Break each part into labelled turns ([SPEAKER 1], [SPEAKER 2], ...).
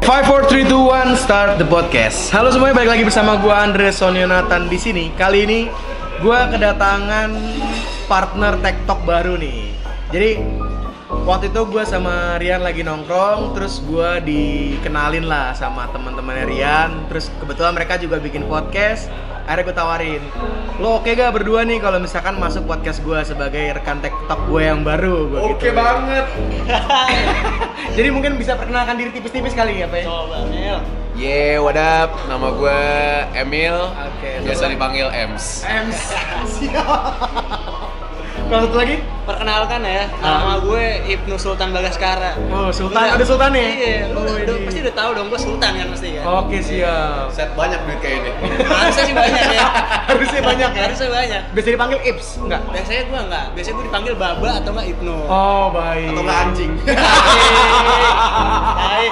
[SPEAKER 1] Five, four, three, two, one, start the podcast. Halo semuanya, balik lagi bersama gue Andre Sonionatan di sini. Kali ini gue kedatangan partner TikTok baru nih. Jadi waktu itu gue sama Rian lagi nongkrong, terus gue dikenalin lah sama teman-temannya Rian. Terus kebetulan mereka juga bikin podcast. Akhirnya gue tawarin, lo oke gak berdua nih kalau misalkan masuk podcast gue sebagai rekan TikTok gue yang baru? Gua gitu gituin.
[SPEAKER 2] Oke banget.
[SPEAKER 1] Jadi mungkin bisa perkenalkan diri tipis-tipis kali ya, Pak. ya?
[SPEAKER 3] Coba Mil.
[SPEAKER 2] Ye, what up? Nama gue Emil.
[SPEAKER 1] Oke,
[SPEAKER 2] Biasa
[SPEAKER 1] selamat.
[SPEAKER 2] dipanggil Ems.
[SPEAKER 1] MC siap kalau satu lagi
[SPEAKER 3] Perkenalkan ya,
[SPEAKER 1] Ah.
[SPEAKER 3] nama gue Ibnu Sultan Bagaskara.
[SPEAKER 1] Oh, Sultan.
[SPEAKER 3] Iya.
[SPEAKER 1] Ada Sultan ya?
[SPEAKER 3] Iya,
[SPEAKER 1] Oh,
[SPEAKER 3] lu udah-
[SPEAKER 1] ini. Oh.
[SPEAKER 3] pasti udah tahu dong gue Sultan kan pasti kan.
[SPEAKER 1] oke siap
[SPEAKER 2] Set banyak duit kayak ini.
[SPEAKER 3] Harusnya sih banyak ya.
[SPEAKER 1] harusnya banyak ya
[SPEAKER 3] Harusnya banyak.
[SPEAKER 1] bisa dipanggil Ips enggak
[SPEAKER 3] Biasanya gue enggak, biasanya gue dipanggil Baba atau enggak Ibnu.
[SPEAKER 1] oh baik
[SPEAKER 2] Atau nggak anjing.
[SPEAKER 3] Hai.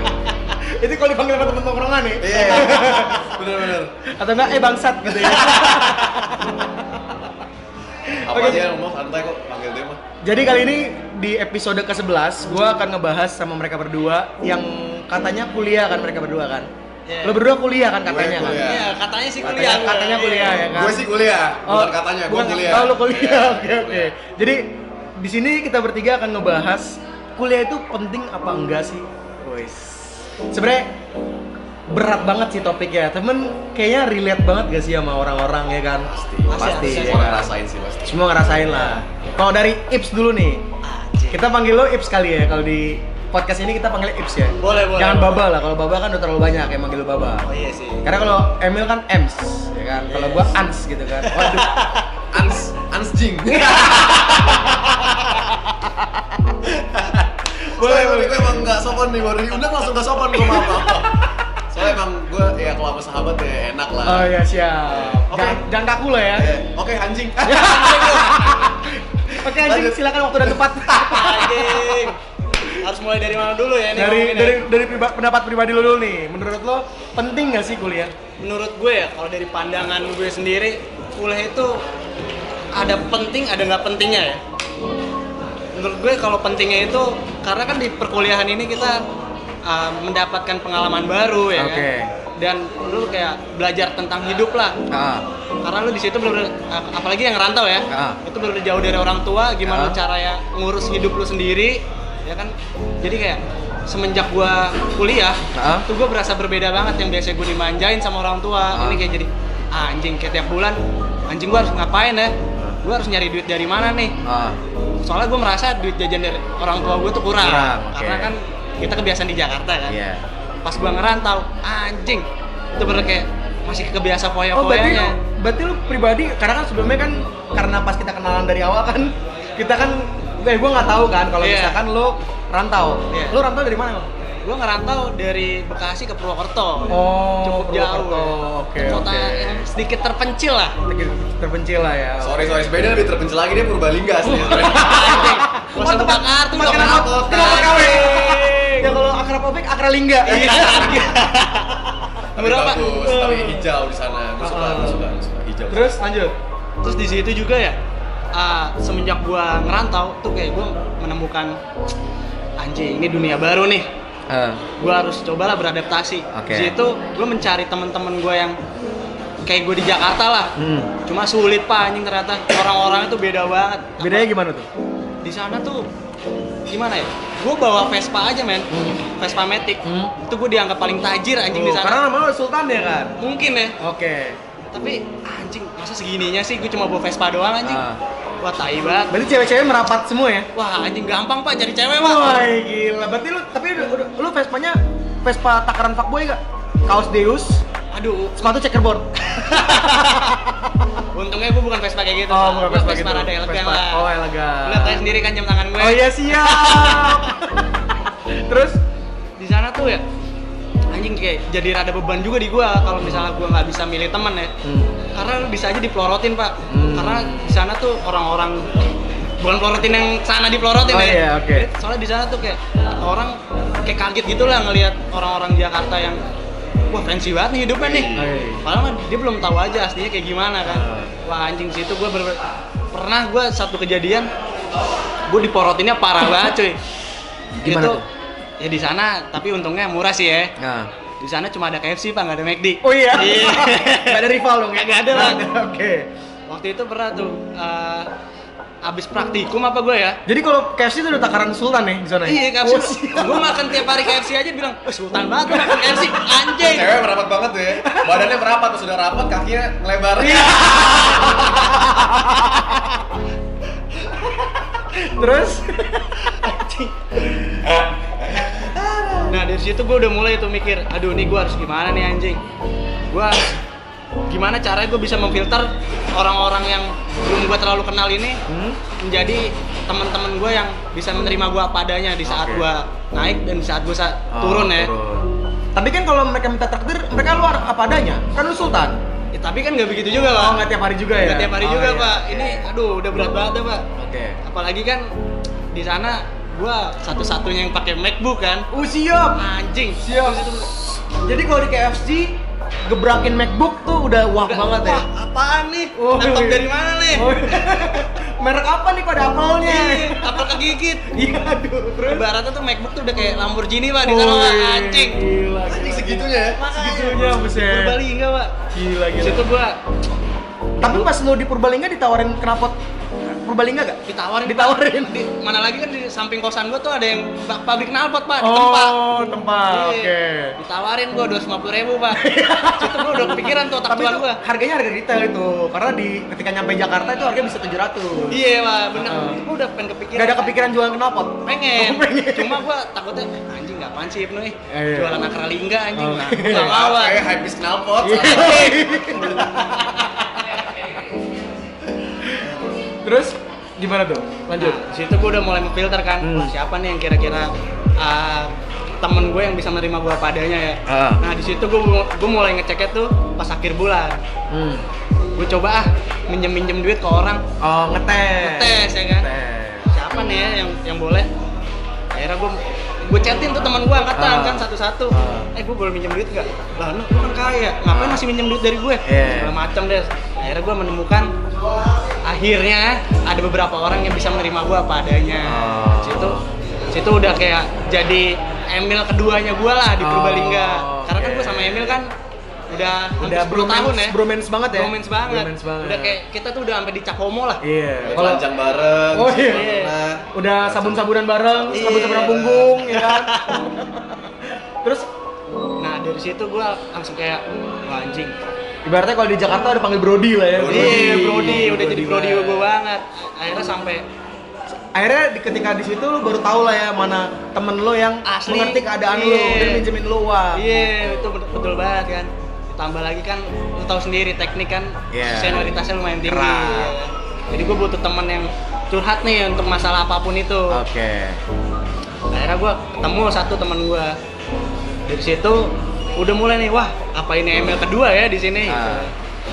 [SPEAKER 1] itu kalau dipanggil sama temen tongkrongan nih
[SPEAKER 2] Iya. Bener-bener.
[SPEAKER 1] atau enggak eh bangsat gitu ya
[SPEAKER 2] Apa
[SPEAKER 1] Oke.
[SPEAKER 2] aja yang mau santai kok panggil dia mah.
[SPEAKER 1] jadi kali ini di episode ke-11 gue akan ngebahas sama mereka berdua yang katanya kuliah kan mereka berdua kan lo
[SPEAKER 3] Iya.
[SPEAKER 1] berdua kuliah kan katanya
[SPEAKER 2] Gue kuliah.
[SPEAKER 1] kan
[SPEAKER 3] Iya, katanya sih
[SPEAKER 1] katanya,
[SPEAKER 3] kuliah. gue.
[SPEAKER 1] katanya kuliah ya kan
[SPEAKER 2] Gue sih kuliah, bukan katanya, gue
[SPEAKER 1] bukan-
[SPEAKER 2] kuliah.
[SPEAKER 1] Oh, lu kuliah.
[SPEAKER 2] Iya,
[SPEAKER 1] Oke, oke. Jadi di sini kita bertiga akan ngebahas kuliah itu penting apa enggak sih? Wes. Sebenarnya berat banget sih topiknya. Temen kayaknya relate banget gak sih sama orang-orang ya kan? Pasti. Pasti.
[SPEAKER 3] Pasti,
[SPEAKER 1] ya
[SPEAKER 2] Semua
[SPEAKER 1] kan?
[SPEAKER 2] ngerasain sih pasti.
[SPEAKER 1] Semua ngerasain lah. Kalau dari Ips dulu nih.
[SPEAKER 3] Anjing.
[SPEAKER 1] Kita panggil lo Ips kali ya kalau di podcast ini kita panggil Ips ya.
[SPEAKER 3] Boleh, boleh.
[SPEAKER 1] Jangan Baba lah. Kalau Baba kan udah terlalu banyak yang manggil lo Baba.
[SPEAKER 3] Oh iya sih.
[SPEAKER 1] Karena kalau Emil kan Ems, ya kan? Kalau gua Ans gitu kan. Waduh.
[SPEAKER 2] Ans, ans jing. boleh, boleh. Gue emang nggak sopan nih, baru diundang langsung nggak sopan gue maaf. maaf. Soalnya emang gue ya kalau sama sahabat ya enak lah.
[SPEAKER 1] Oh iya siap.
[SPEAKER 2] Oke.
[SPEAKER 1] Jangan, jangan kaku lah ya.
[SPEAKER 2] Eh, Oke, anjing.
[SPEAKER 1] Iya. Oke anjing
[SPEAKER 2] Lanjut.
[SPEAKER 1] silakan waktu dan tempat.
[SPEAKER 3] Anjing. Harus mulai dari mana dulu ya nih
[SPEAKER 1] dari
[SPEAKER 3] ngomongin ya?
[SPEAKER 1] dari dari priba- pendapat pribadi lo dulu nih. Menurut lo penting gak sih kuliah?
[SPEAKER 3] menurut gue ya kalau dari pandangan gue sendiri kuliah itu ada penting ada nggak pentingnya ya menurut gue kalau pentingnya itu karena kan di perkuliahan ini kita uh, mendapatkan pengalaman baru ya
[SPEAKER 1] Oke.
[SPEAKER 3] kan dan lu kayak belajar tentang hidup lah
[SPEAKER 1] Ah,
[SPEAKER 3] karena lu di situ bener apalagi yang rantau ya
[SPEAKER 1] Ah.
[SPEAKER 3] itu bener jauh dari orang tua
[SPEAKER 1] Ah.
[SPEAKER 3] gimana cara ya ngurus hidup lu sendiri ya kan jadi kayak semenjak gua kuliah
[SPEAKER 1] Ah.
[SPEAKER 3] tuh gua berasa berbeda banget yang biasanya gua dimanjain sama orang tua
[SPEAKER 1] Ah.
[SPEAKER 3] ini kayak jadi "Ah, anjing kayak tiap bulan anjing gua harus ngapain ya gua harus nyari duit dari mana nih
[SPEAKER 1] ah.
[SPEAKER 3] soalnya gua merasa duit jajan dari orang tua gua tuh kurang,
[SPEAKER 1] Kurang, oke.
[SPEAKER 3] karena kan kita kebiasaan di Jakarta kan
[SPEAKER 1] Iya.
[SPEAKER 3] pas gua ngerantau anjing itu bener kayak masih kebiasa
[SPEAKER 1] Oh berarti
[SPEAKER 3] foya-foyanya
[SPEAKER 1] lo, berarti lo pribadi karena kan sebelumnya kan karena pas kita kenalan dari awal kan kita kan eh gua nggak tahu kan kalau
[SPEAKER 3] Iya.
[SPEAKER 1] misalkan lo rantau.
[SPEAKER 3] Iya.
[SPEAKER 1] Lo rantau dari mana? Bang?
[SPEAKER 3] gue ngerantau dari Bekasi ke Purwokerto
[SPEAKER 1] Oh,
[SPEAKER 3] cukup jauh
[SPEAKER 1] Purwokerto.
[SPEAKER 3] ya.
[SPEAKER 1] Oke,
[SPEAKER 3] kota
[SPEAKER 1] oke.
[SPEAKER 3] yang sedikit terpencil lah
[SPEAKER 1] Terpencil lah ya.
[SPEAKER 2] sorry, sorry. Sebenarnya lebih terpencil lagi dia Purbalingga sih.
[SPEAKER 3] Gak
[SPEAKER 1] Oh,
[SPEAKER 3] usah buka kartu dong
[SPEAKER 1] kenapa
[SPEAKER 2] kenapa
[SPEAKER 1] kenapa
[SPEAKER 2] KW?
[SPEAKER 1] KW? Ya kalau akrab obek akralingga.
[SPEAKER 3] Iya,
[SPEAKER 2] tapi
[SPEAKER 3] Berapa?
[SPEAKER 2] bagus, tapi hijau di sana. Gue suka, gue suka, gue suka hijau.
[SPEAKER 1] Terus lanjut.
[SPEAKER 3] terus di situ juga ya ah, semenjak gue ngerantau tuh kayak gue menemukan anjing ini dunia baru nih gue harus cobalah beradaptasi
[SPEAKER 1] Oke.
[SPEAKER 3] di situ gue mencari teman-teman gue yang kayak gue di Jakarta lah
[SPEAKER 1] Hmm.
[SPEAKER 3] cuma sulit pak anjing ternyata orang-orang itu beda banget
[SPEAKER 1] Bedanya gimana tuh?
[SPEAKER 3] di sana tuh gimana ya? Gue bawa Vespa aja men, Vespa Matic.
[SPEAKER 1] Hmm.
[SPEAKER 3] Itu gue dianggap paling tajir anjing di
[SPEAKER 1] Oh,
[SPEAKER 3] sana.
[SPEAKER 1] karena nama lo Sultan ya kan?
[SPEAKER 3] Mungkin ya,
[SPEAKER 1] Oke.
[SPEAKER 3] tapi anjing masa segininya sih gue cuma bawa Vespa doang anjing.
[SPEAKER 1] Ah.
[SPEAKER 3] Wah tai banget.
[SPEAKER 1] Berarti cewek-cewek merapat semua ya?
[SPEAKER 3] Wah anjing gampang pak cari cewek pak.
[SPEAKER 1] Woi gila. Berarti lu tapi lu, lu Vespanya Vespa takaran fuckboy gak? Kaos Deus,
[SPEAKER 3] Aduh,
[SPEAKER 1] sepatu checkerboard.
[SPEAKER 3] untungnya gue bukan Vespa kayak gitu. Pak. Gua Vespa rada elegan lah.
[SPEAKER 1] Oh, elegan.
[SPEAKER 3] Lihat aja sendiri kan jam tangan gue.
[SPEAKER 1] Oh iya siap. Terus
[SPEAKER 3] Di sana tuh ya anjing kayak jadi rada beban juga di gue kalau misalnya gue nggak bisa milih teman ya. karena lu bisa aja dipelorotin pak
[SPEAKER 1] Hmm.
[SPEAKER 3] karena di sana tuh orang-orang bukan pelorotin yang sana dipelorotin
[SPEAKER 1] Oh,
[SPEAKER 3] ya.
[SPEAKER 1] iya, oke.
[SPEAKER 3] Soalnya di sana tuh kayak orang kayak kaget gitu lah ngelihat orang-orang Jakarta yang wah fancy banget nih hidupnya nih.
[SPEAKER 1] Oh, iya.
[SPEAKER 3] Padahal mah dia belum tahu aja aslinya kayak gimana kan. Wah anjing situ gue bener pernah gue satu kejadian gue diporotinnya parah banget cuy.
[SPEAKER 1] Gimana
[SPEAKER 3] itu,
[SPEAKER 1] tuh?
[SPEAKER 3] Ya di sana tapi untungnya murah sih ya.
[SPEAKER 1] Nah.
[SPEAKER 3] Di sana cuma ada KFC pak, nggak ada McD.
[SPEAKER 1] Oh iya.
[SPEAKER 3] Iya.
[SPEAKER 1] Gak ada rival dong ya?
[SPEAKER 3] Nggak ada lah.
[SPEAKER 1] Oke.
[SPEAKER 3] Waktu itu pernah tuh eh, abis praktikum apa gue ya?
[SPEAKER 1] Jadi kalau KFC itu udah takaran sultan nih di sana. ya?
[SPEAKER 3] Iya
[SPEAKER 1] Oh,
[SPEAKER 3] KFC.
[SPEAKER 1] siap.
[SPEAKER 3] Gue makan tiap hari KFC aja bilang, "Eh, sultan banget gua makan KFC, anjing."
[SPEAKER 1] Iya.
[SPEAKER 2] Cewek merapat banget tuh ya. Badannya merapat tuh sudah rapat, kakinya ngelebar.
[SPEAKER 1] Iya. Terus?
[SPEAKER 3] Nah dari situ gue udah mulai tuh mikir, aduh nih gue harus gimana nih anjing. Gue gimana caranya gue bisa memfilter orang-orang yang belum gue terlalu kenal ini
[SPEAKER 1] Hmm?
[SPEAKER 3] menjadi teman-teman gue yang bisa menerima gue apa adanya di saat
[SPEAKER 1] Oke.
[SPEAKER 3] gue naik dan di saat gue
[SPEAKER 1] Oh,
[SPEAKER 3] turun ya.
[SPEAKER 1] Tapi kan kalau mereka minta traktir, mereka luar apa adanya. Kan lu sultan.
[SPEAKER 3] Ya, tapi kan nggak begitu juga pak.
[SPEAKER 1] Oh, nggak tiap hari juga ya?
[SPEAKER 3] Nggak tiap hari
[SPEAKER 1] Oh,
[SPEAKER 3] juga
[SPEAKER 1] iya.
[SPEAKER 3] pak. Ini aduh udah berat banget ya pak.
[SPEAKER 1] Oke.
[SPEAKER 3] Apalagi kan di sana gue satu-satunya yang pakai MacBook kan.
[SPEAKER 1] Oh, siap.
[SPEAKER 3] Anjing.
[SPEAKER 1] Siap. Jadi kalau di KFC gebrakin MacBook tuh udah wah
[SPEAKER 3] Udah,
[SPEAKER 1] banget ya.
[SPEAKER 3] Wah apaan nih?
[SPEAKER 1] Oh,
[SPEAKER 3] Laptop
[SPEAKER 1] iya.
[SPEAKER 3] dari mana nih?
[SPEAKER 1] Oh, iya. Merek apa nih pada apelnya?
[SPEAKER 3] Ih, Apel kegigit.
[SPEAKER 1] Iya, aduh. Terus?
[SPEAKER 3] Ibaratnya tuh MacBook tuh udah kayak Lamborghini pak di sana
[SPEAKER 1] Wih,
[SPEAKER 3] pak. Anjing.
[SPEAKER 1] Gila.
[SPEAKER 2] Ini
[SPEAKER 1] gila.
[SPEAKER 2] segitunya ya.
[SPEAKER 1] Segitunya, buset.
[SPEAKER 3] Purbalingga pak.
[SPEAKER 1] Gila,
[SPEAKER 3] Di
[SPEAKER 1] gila.
[SPEAKER 3] situ gue
[SPEAKER 1] Tapi pas lu di Purbalingga ditawarin knalpot Purbalingga gak?
[SPEAKER 3] ditawarin. Pak.
[SPEAKER 1] Ditawarin.
[SPEAKER 3] Di, mana lagi kan di samping kosan gue tuh ada yang pa- pabrik knalpot pak di tempat.
[SPEAKER 1] Oh, tempat.
[SPEAKER 3] Iya.
[SPEAKER 1] Oke.
[SPEAKER 3] Ditawarin gua 250 ribu pak. Situ gua udah kepikiran tuh otak
[SPEAKER 1] Tapi
[SPEAKER 3] tua
[SPEAKER 1] itu
[SPEAKER 3] gua.
[SPEAKER 1] harganya harga retail itu. Karena di ketika nyampe Jakarta itu harga bisa 700.
[SPEAKER 3] Iya pak, bener.
[SPEAKER 1] Heeh.
[SPEAKER 3] Itu gua udah pengen kepikiran.
[SPEAKER 1] Gak Ah. ada kepikiran jualan knalpot.
[SPEAKER 3] Pengen.
[SPEAKER 1] Oh, pengen.
[SPEAKER 3] Cuma gua takutnya "Eh, anjing nggak apaan sih Ibnu nih.
[SPEAKER 1] Eh, iya.
[SPEAKER 3] Jualan akralingga anjing.
[SPEAKER 1] Oh.
[SPEAKER 3] Nah, gua nggak mau Pak.
[SPEAKER 2] Kayak hype is knalpot.
[SPEAKER 1] Iya. Terus gimana tuh? Lanjut.
[SPEAKER 3] Nah, di situ gua udah mulai memfilter kan.
[SPEAKER 1] Hmm.
[SPEAKER 3] Wah, siapa nih yang kira-kira ah, temen gue yang bisa menerima gua padanya ya.
[SPEAKER 1] Ah.
[SPEAKER 3] Nah di situ gue gue mulai ngeceknya tuh pas akhir bulan.
[SPEAKER 1] Hmm.
[SPEAKER 3] Gue coba ah minjem minjem duit ke orang
[SPEAKER 1] Oh, ngetes.
[SPEAKER 3] Ngetes, ya kan?
[SPEAKER 2] Eh,
[SPEAKER 3] siapa nih ya yang yang boleh akhirnya gue gue chatin tuh teman gue angkatan
[SPEAKER 1] Ah.
[SPEAKER 3] kan satu-satu
[SPEAKER 1] Ah.
[SPEAKER 3] eh gue boleh minjem duit nggak lah lu lu kan kaya ngapain
[SPEAKER 1] Ah.
[SPEAKER 3] masih minjem duit dari gue
[SPEAKER 1] Iya.
[SPEAKER 3] segala macam deh akhirnya gue menemukan akhirnya ada beberapa orang yang bisa menerima gue apa adanya
[SPEAKER 1] Ah.
[SPEAKER 3] situ situ udah kayak jadi Emil keduanya gue lah di
[SPEAKER 1] Oh,
[SPEAKER 3] Purbalingga karena kan
[SPEAKER 1] oke.
[SPEAKER 3] gue sama Emil kan udah hampir
[SPEAKER 1] Udah
[SPEAKER 3] 10
[SPEAKER 1] bromance,
[SPEAKER 3] tahun ya
[SPEAKER 1] bromance banget ya.
[SPEAKER 3] bromance banget.
[SPEAKER 1] Bromance banget.
[SPEAKER 3] udah kayak kita tuh udah sampai dicap homo lah
[SPEAKER 1] Iya.
[SPEAKER 2] Kalau jam bareng.
[SPEAKER 1] Oh, iya.
[SPEAKER 2] Nah,
[SPEAKER 1] udah sabun-sabunan bareng,
[SPEAKER 3] Iya.
[SPEAKER 1] sabun-sabunan punggung, ya kan? Terus
[SPEAKER 3] Nah dari situ gue langsung kayak wah anjing.
[SPEAKER 1] ibaratnya kalau di Jakarta udah panggil Brody lah ya.
[SPEAKER 2] Brody.
[SPEAKER 3] Iya Brody udah jadi Brody
[SPEAKER 1] banget.
[SPEAKER 3] gue banget. Akhirnya sampai
[SPEAKER 1] Akhirnya di- ketika di situ lu baru tahu lah ya mana temen lo yang
[SPEAKER 3] Asli.
[SPEAKER 1] mengerti keadaan lu
[SPEAKER 3] Iya.
[SPEAKER 1] dan minjemin lu uang.
[SPEAKER 3] iya itu betul, betul banget kan. Tambah lagi kan lu tahu sendiri teknik kan
[SPEAKER 1] Iya.
[SPEAKER 3] senioritasnya lumayan tinggi.
[SPEAKER 1] Keras.
[SPEAKER 3] ya. Jadi gue butuh teman yang curhat nih untuk masalah apapun itu.
[SPEAKER 1] Oke.
[SPEAKER 3] Akhirnya gue ketemu satu teman gue. Dari situ udah mulai nih wah apa ini ML kedua ya di sini.
[SPEAKER 1] Ah.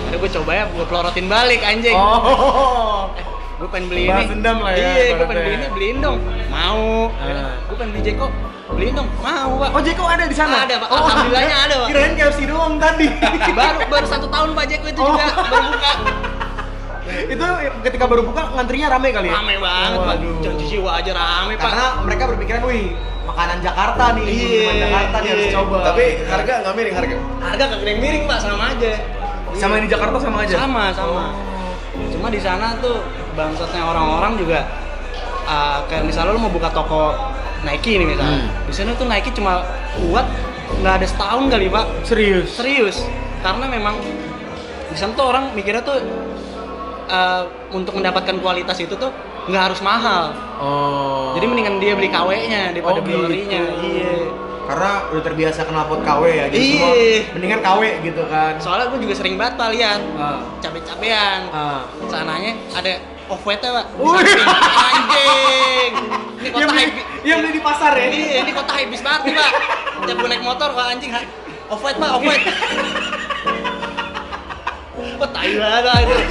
[SPEAKER 3] Akhirnya gue coba ya gue pelorotin balik anjing.
[SPEAKER 1] Oh.
[SPEAKER 3] gue pengen beli
[SPEAKER 1] Balas
[SPEAKER 3] ini
[SPEAKER 1] dendam lah ya,
[SPEAKER 3] iya gue pengen
[SPEAKER 1] ibaratnya.
[SPEAKER 3] beli ini beliin dong mau
[SPEAKER 1] Ah.
[SPEAKER 3] gue pengen beli Jeko beliin dong mau pak
[SPEAKER 1] Oh, Jeko ada di sana? Oh.
[SPEAKER 3] Ada, Pak. Alhamdulillahnya ada, Pak.
[SPEAKER 1] Kirain KFC doang tadi.
[SPEAKER 3] baru baru satu tahun pak Jeko itu
[SPEAKER 1] Oh.
[SPEAKER 3] juga baru buka
[SPEAKER 1] itu ketika baru buka ngantrinya rame kali ya?
[SPEAKER 3] rame banget pak
[SPEAKER 1] Waduh.
[SPEAKER 3] janji jiwa aja rame pak
[SPEAKER 1] Karena mereka berpikiran, wih, makanan Jakarta nih,
[SPEAKER 3] Iya,
[SPEAKER 1] minuman Jakarta nih harus
[SPEAKER 3] iya.
[SPEAKER 1] coba.
[SPEAKER 2] tapi harga nggak miring harga.
[SPEAKER 3] harga kagak ada yang miring pak sama aja
[SPEAKER 1] sama yang di Jakarta sama aja. Oh.
[SPEAKER 3] sama sama cuma di sana tuh bangsatnya orang-orang juga ah, kayak misalnya lu mau buka toko Nike nih misalnya
[SPEAKER 1] Hmm.
[SPEAKER 3] di sana tuh Nike cuma kuat nggak ada setahun kali pak
[SPEAKER 1] Serius.
[SPEAKER 3] serius karena memang di sana tuh orang mikirnya tuh eh, untuk mendapatkan kualitas itu tuh nggak harus mahal
[SPEAKER 1] Oh.
[SPEAKER 3] jadi mendingan dia beli KW-nya daripada
[SPEAKER 1] Oh,
[SPEAKER 3] beli
[SPEAKER 1] gitu.
[SPEAKER 3] ori-nya iya
[SPEAKER 1] karena udah terbiasa knalpot KW ya jadi
[SPEAKER 3] Iya.
[SPEAKER 1] semua mendingan KW gitu kan.
[SPEAKER 3] soalnya gue juga sering banget pak lihat
[SPEAKER 1] Ah.
[SPEAKER 3] cabe-cabean
[SPEAKER 1] Ah.
[SPEAKER 3] sananya ada off white pak Di
[SPEAKER 1] Wih. Iya,
[SPEAKER 3] samping. anjing ini
[SPEAKER 1] Yang
[SPEAKER 3] kota Iya.
[SPEAKER 1] beli,
[SPEAKER 3] high-
[SPEAKER 1] yang beli di pasar ya.
[SPEAKER 3] ini ini kota habis banget nih pak tiap gue naik motor wah anjing off white pak off white kok tai banget anjing.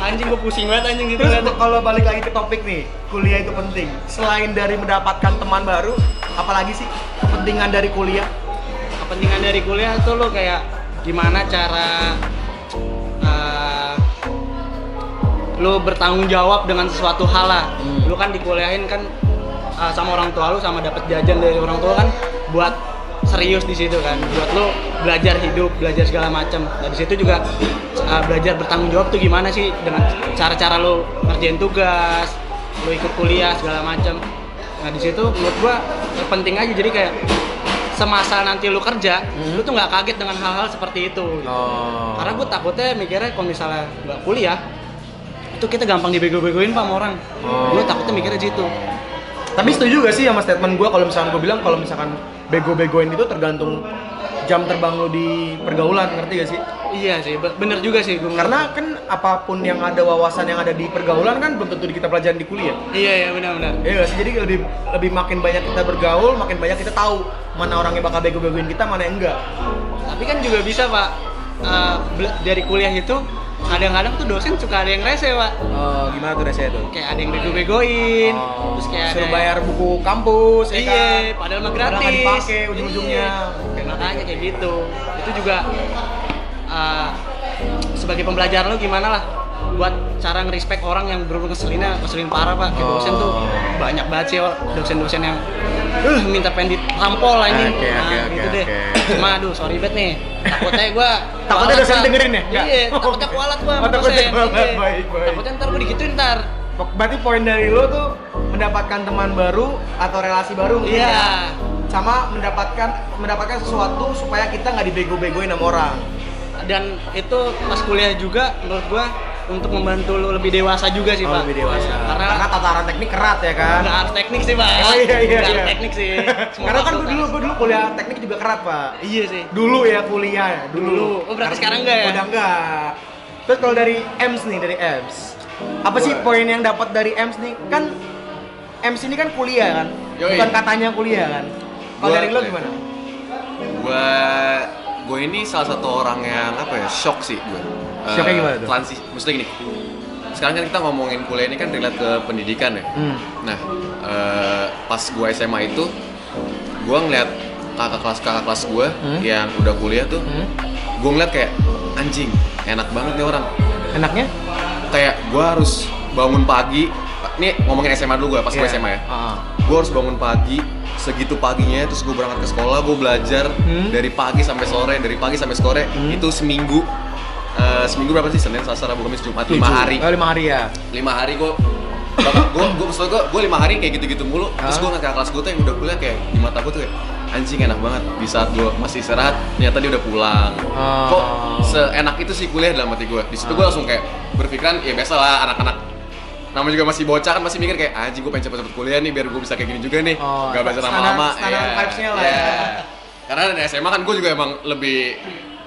[SPEAKER 3] Anjing gue pusing banget anjing gitu
[SPEAKER 1] Terus
[SPEAKER 3] ngeliatnya.
[SPEAKER 1] kalau balik lagi ke topik nih, kuliah itu penting. Selain dari mendapatkan teman baru, apalagi sih kepentingan dari kuliah?
[SPEAKER 3] kepentingan dari kuliah itu lo kayak gimana cara uh, lo bertanggung jawab dengan sesuatu hal lah
[SPEAKER 1] Hmm.
[SPEAKER 3] lo kan dikuliahin kan uh, sama orang tua lo sama dapat jajan dari orang tua kan buat serius di situ kan buat lo belajar hidup belajar segala macam nah di situ juga uh, belajar bertanggung jawab tuh gimana sih dengan cara-cara lo ngerjain tugas lo ikut kuliah segala macam nah di situ menurut gua penting aja jadi kayak semasa nanti lu kerja, lu tuh nggak kaget dengan hal-hal seperti itu. gitu.
[SPEAKER 1] Oh.
[SPEAKER 3] Karena gue takutnya mikirnya kalau misalnya nggak kuliah, itu kita gampang dibego-begoin pak sama orang.
[SPEAKER 1] Oh.
[SPEAKER 3] Gue takutnya mikirnya gitu.
[SPEAKER 1] Tapi setuju gak sih sama statement gue kalau misalkan gue bilang kalau misalkan bego-begoin itu tergantung jam terbang lo di pergaulan, ngerti gak sih?
[SPEAKER 3] Iya sih, be- bener juga sih gue.
[SPEAKER 1] Karena kan apapun yang ada wawasan yang ada di pergaulan kan belum tentu kita pelajaran di kuliah.
[SPEAKER 3] iya iya benar-benar.
[SPEAKER 1] Iya nggak sih? jadi lebih lebih makin banyak kita bergaul, makin banyak kita tahu mana orang yang bakal bego-begoin kita, mana yang enggak.
[SPEAKER 3] Tapi kan juga bisa pak eh, bela- dari kuliah itu kadang-kadang tuh dosen suka ada yang rese pak.
[SPEAKER 1] Eh, gimana tuh rasanya tuh? Oh.
[SPEAKER 3] Kayak ada yang bego-begoin, terus kayak ada
[SPEAKER 1] suruh
[SPEAKER 3] yang-
[SPEAKER 1] bayar buku kampus, ya
[SPEAKER 3] Iya,
[SPEAKER 1] kan?
[SPEAKER 3] padahal mah
[SPEAKER 1] Padahal
[SPEAKER 3] gratis.
[SPEAKER 1] nggak dipakai ujung-ujungnya.
[SPEAKER 3] Iya. Kayak makanya kayak gitu. Itu juga uh, sebagai pembelajaran lo gimana lah buat cara ngerespek orang yang bener-bener ngeselinnya, ngeselin parah pak. Kayak dosen tuh
[SPEAKER 1] Oh.
[SPEAKER 3] banyak banget sih Wak, dosen-dosen yang uh, minta pengen ditampol lah ini.
[SPEAKER 1] Ah, Oke, oke, oke,
[SPEAKER 3] gitu deh.
[SPEAKER 1] oke.
[SPEAKER 3] Cuma aduh sorry banget nih. Takutnya gue
[SPEAKER 1] Takutnya dosen dengerin ya? Nggak?
[SPEAKER 3] Iya, takutnya
[SPEAKER 1] Oke.
[SPEAKER 3] kualat gua sama
[SPEAKER 1] Oh, takutnya
[SPEAKER 3] dosen.
[SPEAKER 1] kualat.
[SPEAKER 3] Iya.
[SPEAKER 1] Baik, baik.
[SPEAKER 3] Takutnya ntar gue digituin ntar.
[SPEAKER 1] Pok- Berarti poin dari lo tuh mendapatkan teman baru atau relasi baru mungkin
[SPEAKER 3] Iya.
[SPEAKER 1] ya? sama mendapatkan mendapatkan sesuatu supaya kita nggak dibego-begoin sama orang.
[SPEAKER 3] dan itu pas kuliah juga menurut gua untuk membantu lu lebih dewasa juga sih
[SPEAKER 1] Oh,
[SPEAKER 3] pak
[SPEAKER 1] lebih dewasa.
[SPEAKER 3] karena
[SPEAKER 1] Karena tataran teknik kerat ya kan.
[SPEAKER 3] nggak harus teknik sih pak
[SPEAKER 1] Oh iya iya
[SPEAKER 3] Nggak
[SPEAKER 1] iya.
[SPEAKER 3] harus teknik sih Semua
[SPEAKER 1] Karena kan
[SPEAKER 3] waktu
[SPEAKER 1] gue dulu
[SPEAKER 3] harus-
[SPEAKER 1] gue dulu kuliah teknik juga kerat pak.
[SPEAKER 3] iya sih
[SPEAKER 1] Dulu ya kuliah ya dulu.
[SPEAKER 3] Dulu. Oh, berarti sekarang nggak ya?
[SPEAKER 1] Udah enggak. Terus kalau dari EMS nih dari EMS, apa sih
[SPEAKER 2] Boleh.
[SPEAKER 1] poin yang dapat dari EMS nih? Kan EMS ini kan kuliah kan,
[SPEAKER 2] Yoi.
[SPEAKER 1] bukan katanya kuliah kan. Kalau
[SPEAKER 2] Gua-
[SPEAKER 1] dari lo gimana?
[SPEAKER 2] Gue gue ini salah satu orang yang apa ya shock sih gue. Eh,
[SPEAKER 1] Shocknya gimana tuh?
[SPEAKER 2] Transisi, maksudnya gini. Sekarang kan kita ngomongin kuliah ini kan relate ke pendidikan ya.
[SPEAKER 1] Hmm.
[SPEAKER 2] Nah, eh, pas gue SMA itu, gue ngeliat kakak kelas kakak kelas gue
[SPEAKER 1] Hmm.
[SPEAKER 2] yang udah kuliah tuh,
[SPEAKER 1] Hmm.
[SPEAKER 2] gue ngeliat kayak anjing, enak banget nih orang.
[SPEAKER 1] Enaknya?
[SPEAKER 2] Kayak gue harus bangun pagi. Nih ngomongin SMA dulu gue pas gue
[SPEAKER 1] Iya.
[SPEAKER 2] SMA ya.
[SPEAKER 1] Ah.
[SPEAKER 2] Gue harus bangun pagi, segitu paginya terus gue berangkat ke sekolah, gue belajar
[SPEAKER 1] Hmm.
[SPEAKER 2] dari pagi sampai sore, dari pagi sampai sore
[SPEAKER 1] Hmm.
[SPEAKER 2] itu seminggu. eh, seminggu berapa sih Senin, Selasa, Rabu, Kamis, Jumat, lima
[SPEAKER 1] Tujuh.
[SPEAKER 2] hari
[SPEAKER 1] Oh, lima hari ya.
[SPEAKER 2] lima hari gue Bapak gue, gue maksud gue, gue lima hari kayak gitu-gitu mulu
[SPEAKER 1] Hah?
[SPEAKER 2] Terus gue ngeliat kakak kelas gue tuh yang udah kuliah kayak di mata gue tuh kayak Anjing enak banget, di saat gue masih istirahat ternyata dia udah pulang
[SPEAKER 1] Ah.
[SPEAKER 2] Kok seenak itu sih kuliah dalam hati gue Disitu gue langsung kayak berpikiran, ya biasa lah anak-anak Namanya juga masih bocah kan masih mikir kayak Anjing gue pengen cepet-cepet kuliah nih biar gue bisa kayak gini juga nih
[SPEAKER 1] Oh,
[SPEAKER 2] Gak belajar
[SPEAKER 1] standar-
[SPEAKER 2] lama-lama
[SPEAKER 1] standar
[SPEAKER 2] Iya,
[SPEAKER 1] vibes-nya lah
[SPEAKER 2] iya.
[SPEAKER 1] ya.
[SPEAKER 2] Karena dari SMA kan gue juga emang lebih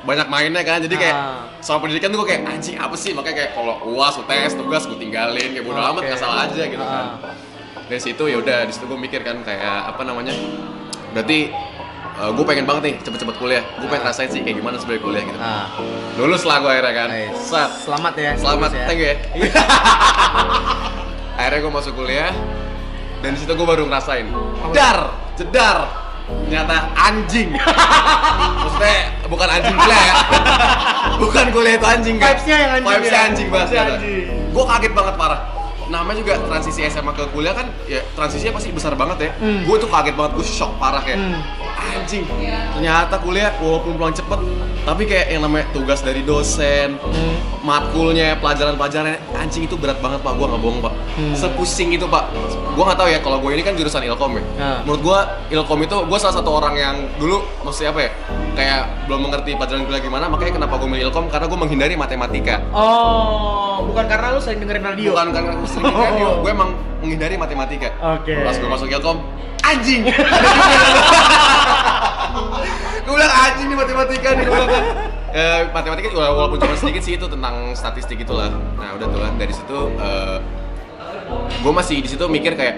[SPEAKER 2] banyak mainnya kan jadi kayak
[SPEAKER 1] Ah.
[SPEAKER 2] sama pendidikan tuh gue kayak anjing apa sih makanya kayak kalau uas UTS tugas gue tinggalin kayak bodo amat
[SPEAKER 1] Oke.
[SPEAKER 2] nggak salah aja gitu kan
[SPEAKER 1] Ah.
[SPEAKER 2] dari situ ya udah di situ gue mikir kan kayak apa namanya berarti gue pengen banget nih cepet-cepet kuliah gue pengen rasain sih kayak gimana sebenarnya kuliah gitu
[SPEAKER 1] Ah.
[SPEAKER 2] lulus lah gue akhirnya kan
[SPEAKER 1] Nice.
[SPEAKER 2] Set.
[SPEAKER 1] Selamat ya.
[SPEAKER 2] selamat
[SPEAKER 1] lulus ya.
[SPEAKER 2] thank you ya akhirnya gue masuk kuliah dan di situ gue baru ngerasain
[SPEAKER 1] Oh.
[SPEAKER 2] dar jedar ternyata anjing maksudnya bukan anjing kuliah ya bukan kuliah itu anjing kan
[SPEAKER 1] Vibes-nya yang anjing
[SPEAKER 2] Vibes-nya
[SPEAKER 1] ya?
[SPEAKER 2] anjing banget
[SPEAKER 1] Vibes-nya anjing.
[SPEAKER 2] gue kaget banget parah namanya juga transisi SMA ke kuliah kan ya transisinya pasti besar banget ya
[SPEAKER 1] Hmm.
[SPEAKER 2] gue tuh kaget banget gue shock parah ya. kayak
[SPEAKER 1] Hmm.
[SPEAKER 2] anjing ternyata kuliah walaupun pulang cepet tapi kayak yang namanya tugas dari dosen
[SPEAKER 1] Hmm.
[SPEAKER 2] matkulnya pelajaran-pelajarannya anjing itu berat banget pak gue nggak bohong pak
[SPEAKER 1] Hmm.
[SPEAKER 2] sepusing itu pak gue nggak tahu ya kalau gue ini kan jurusan ilkom ya
[SPEAKER 1] Ah.
[SPEAKER 2] menurut gue ilkom itu gue salah satu orang yang dulu maksudnya apa ya kayak belum mengerti pelajaran kuliah gimana makanya kenapa gue milih ilkom karena gue menghindari matematika
[SPEAKER 1] Oh, bukan karena lu sering dengerin radio. Oh.
[SPEAKER 2] bukan karena gue sering dengerin radio gue emang menghindari matematika
[SPEAKER 1] Oke.
[SPEAKER 2] pas gue masuk ilkom anjing gue bilang anjing nih matematika nih gue bilang kan Eh, matematika juga walaupun cuma sedikit sih itu tentang statistik itulah nah udah tuh kan dari situ gue masih di situ mikir kayak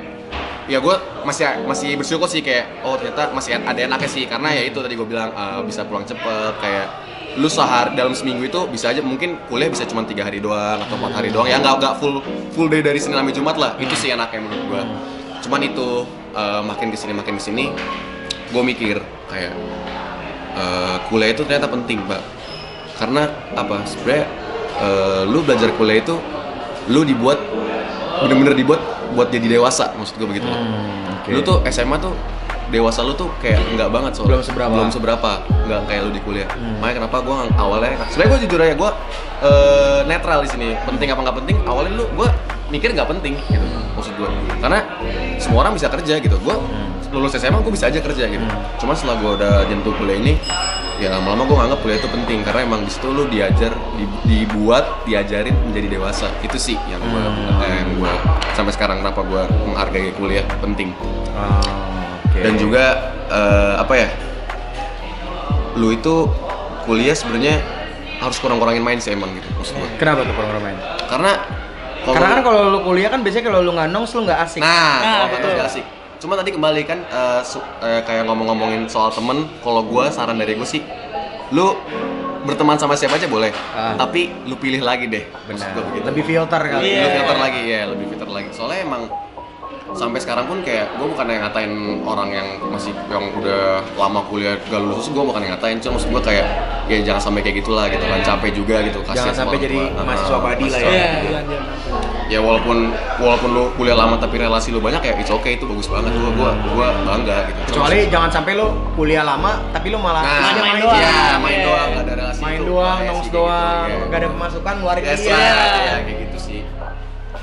[SPEAKER 2] ya gue masih masih bersyukur sih kayak oh ternyata masih ada enaknya sih karena ya itu tadi gue bilang eh, bisa pulang cepet kayak lu sehari dalam seminggu itu bisa aja mungkin kuliah bisa cuma tiga hari doang atau empat hari doang ya nggak nggak full full day dari Senin sampai Jumat lah itu sih enaknya menurut gua cuman itu eh, makin kesini makin kesini gua mikir kayak eh, kuliah itu ternyata penting pak karena apa sebenarnya eh, lu belajar kuliah itu lu dibuat bener-bener dibuat buat jadi dewasa maksud gua begitu
[SPEAKER 1] Hmm. oke.
[SPEAKER 2] lu tuh SMA tuh dewasa lu tuh kayak enggak banget soalnya
[SPEAKER 1] Belum seberapa. Hmm.
[SPEAKER 2] belum seberapa enggak kayak lu di kuliah makanya kenapa gua ngang- awalnya nah, sebenarnya gua jujur aja gua eh, netral di sini penting apa nggak penting awalnya lu gua mikir nggak penting gitu maksud gua karena semua orang bisa kerja gitu gua
[SPEAKER 1] Hmm.
[SPEAKER 2] lulus SMA gua bisa aja kerja gitu cuma setelah gua udah jentuh kuliah ini ya lama-lama gua nganggap kuliah itu penting karena emang di situ lu diajar di- dibuat diajarin menjadi dewasa itu sih yang gua
[SPEAKER 1] Hmm.
[SPEAKER 2] eh, yang gua sampai sekarang kenapa gua menghargai kuliah penting dan juga eh, apa ya lu itu kuliah sebenarnya harus kurang-kurangin main sih emang gitu maksud gua.
[SPEAKER 1] kenapa tuh kurang main?
[SPEAKER 2] karena kalau-
[SPEAKER 1] Karena kan kalau Ah, lu kuliah kan biasanya kalau lu nggak nongs lu nggak asik.
[SPEAKER 2] nah,
[SPEAKER 3] Nah,
[SPEAKER 2] kalau
[SPEAKER 3] betul.
[SPEAKER 2] nggak asik cuma tadi kembali kan eh, su- eh, kayak ngomong-ngomongin soal temen kalau gua saran dari gua sih lu berteman sama siapa aja boleh
[SPEAKER 1] Ah.
[SPEAKER 2] tapi lu pilih lagi deh maksud
[SPEAKER 1] Benar.
[SPEAKER 2] gua begitu.
[SPEAKER 1] Lebih filter kali.
[SPEAKER 3] Iya.
[SPEAKER 2] Lebih filter lagi ya, lebih filter lagi. Soalnya emang sampai sekarang pun kayak gue bukan yang ngatain orang yang masih yang udah lama kuliah gak lulus gue bukan yang ngatain cuma maksud gue kayak ya jangan sampai kayak gitulah gitu kan capek juga gitu
[SPEAKER 1] Iya. Jangan
[SPEAKER 2] sama
[SPEAKER 1] sampai
[SPEAKER 2] orang
[SPEAKER 1] jadi
[SPEAKER 2] tua. Ah,
[SPEAKER 1] mahasiswa abadi lah ya.
[SPEAKER 2] mahasiswa
[SPEAKER 3] Iya,
[SPEAKER 2] abadi.
[SPEAKER 3] iya, iya.
[SPEAKER 2] ya walaupun walaupun lu kuliah lama tapi relasi lu banyak ya it's okay itu bagus banget gue gue gue bangga gitu Cuma
[SPEAKER 1] Kecuali jangan sampai lu kuliah lama tapi lu malah
[SPEAKER 2] nah,
[SPEAKER 1] kerja
[SPEAKER 2] main,
[SPEAKER 3] main
[SPEAKER 2] doang
[SPEAKER 3] doang.
[SPEAKER 2] ya, main doang gak ada relasi
[SPEAKER 1] main
[SPEAKER 2] itu,
[SPEAKER 1] doang,
[SPEAKER 2] bahaya
[SPEAKER 1] nongs
[SPEAKER 2] sih kayak gitu,
[SPEAKER 1] doang,
[SPEAKER 2] iya.
[SPEAKER 1] nggak ada pemasukan luar
[SPEAKER 2] Yes
[SPEAKER 1] iya.
[SPEAKER 2] lah, ya, kayak gitu sih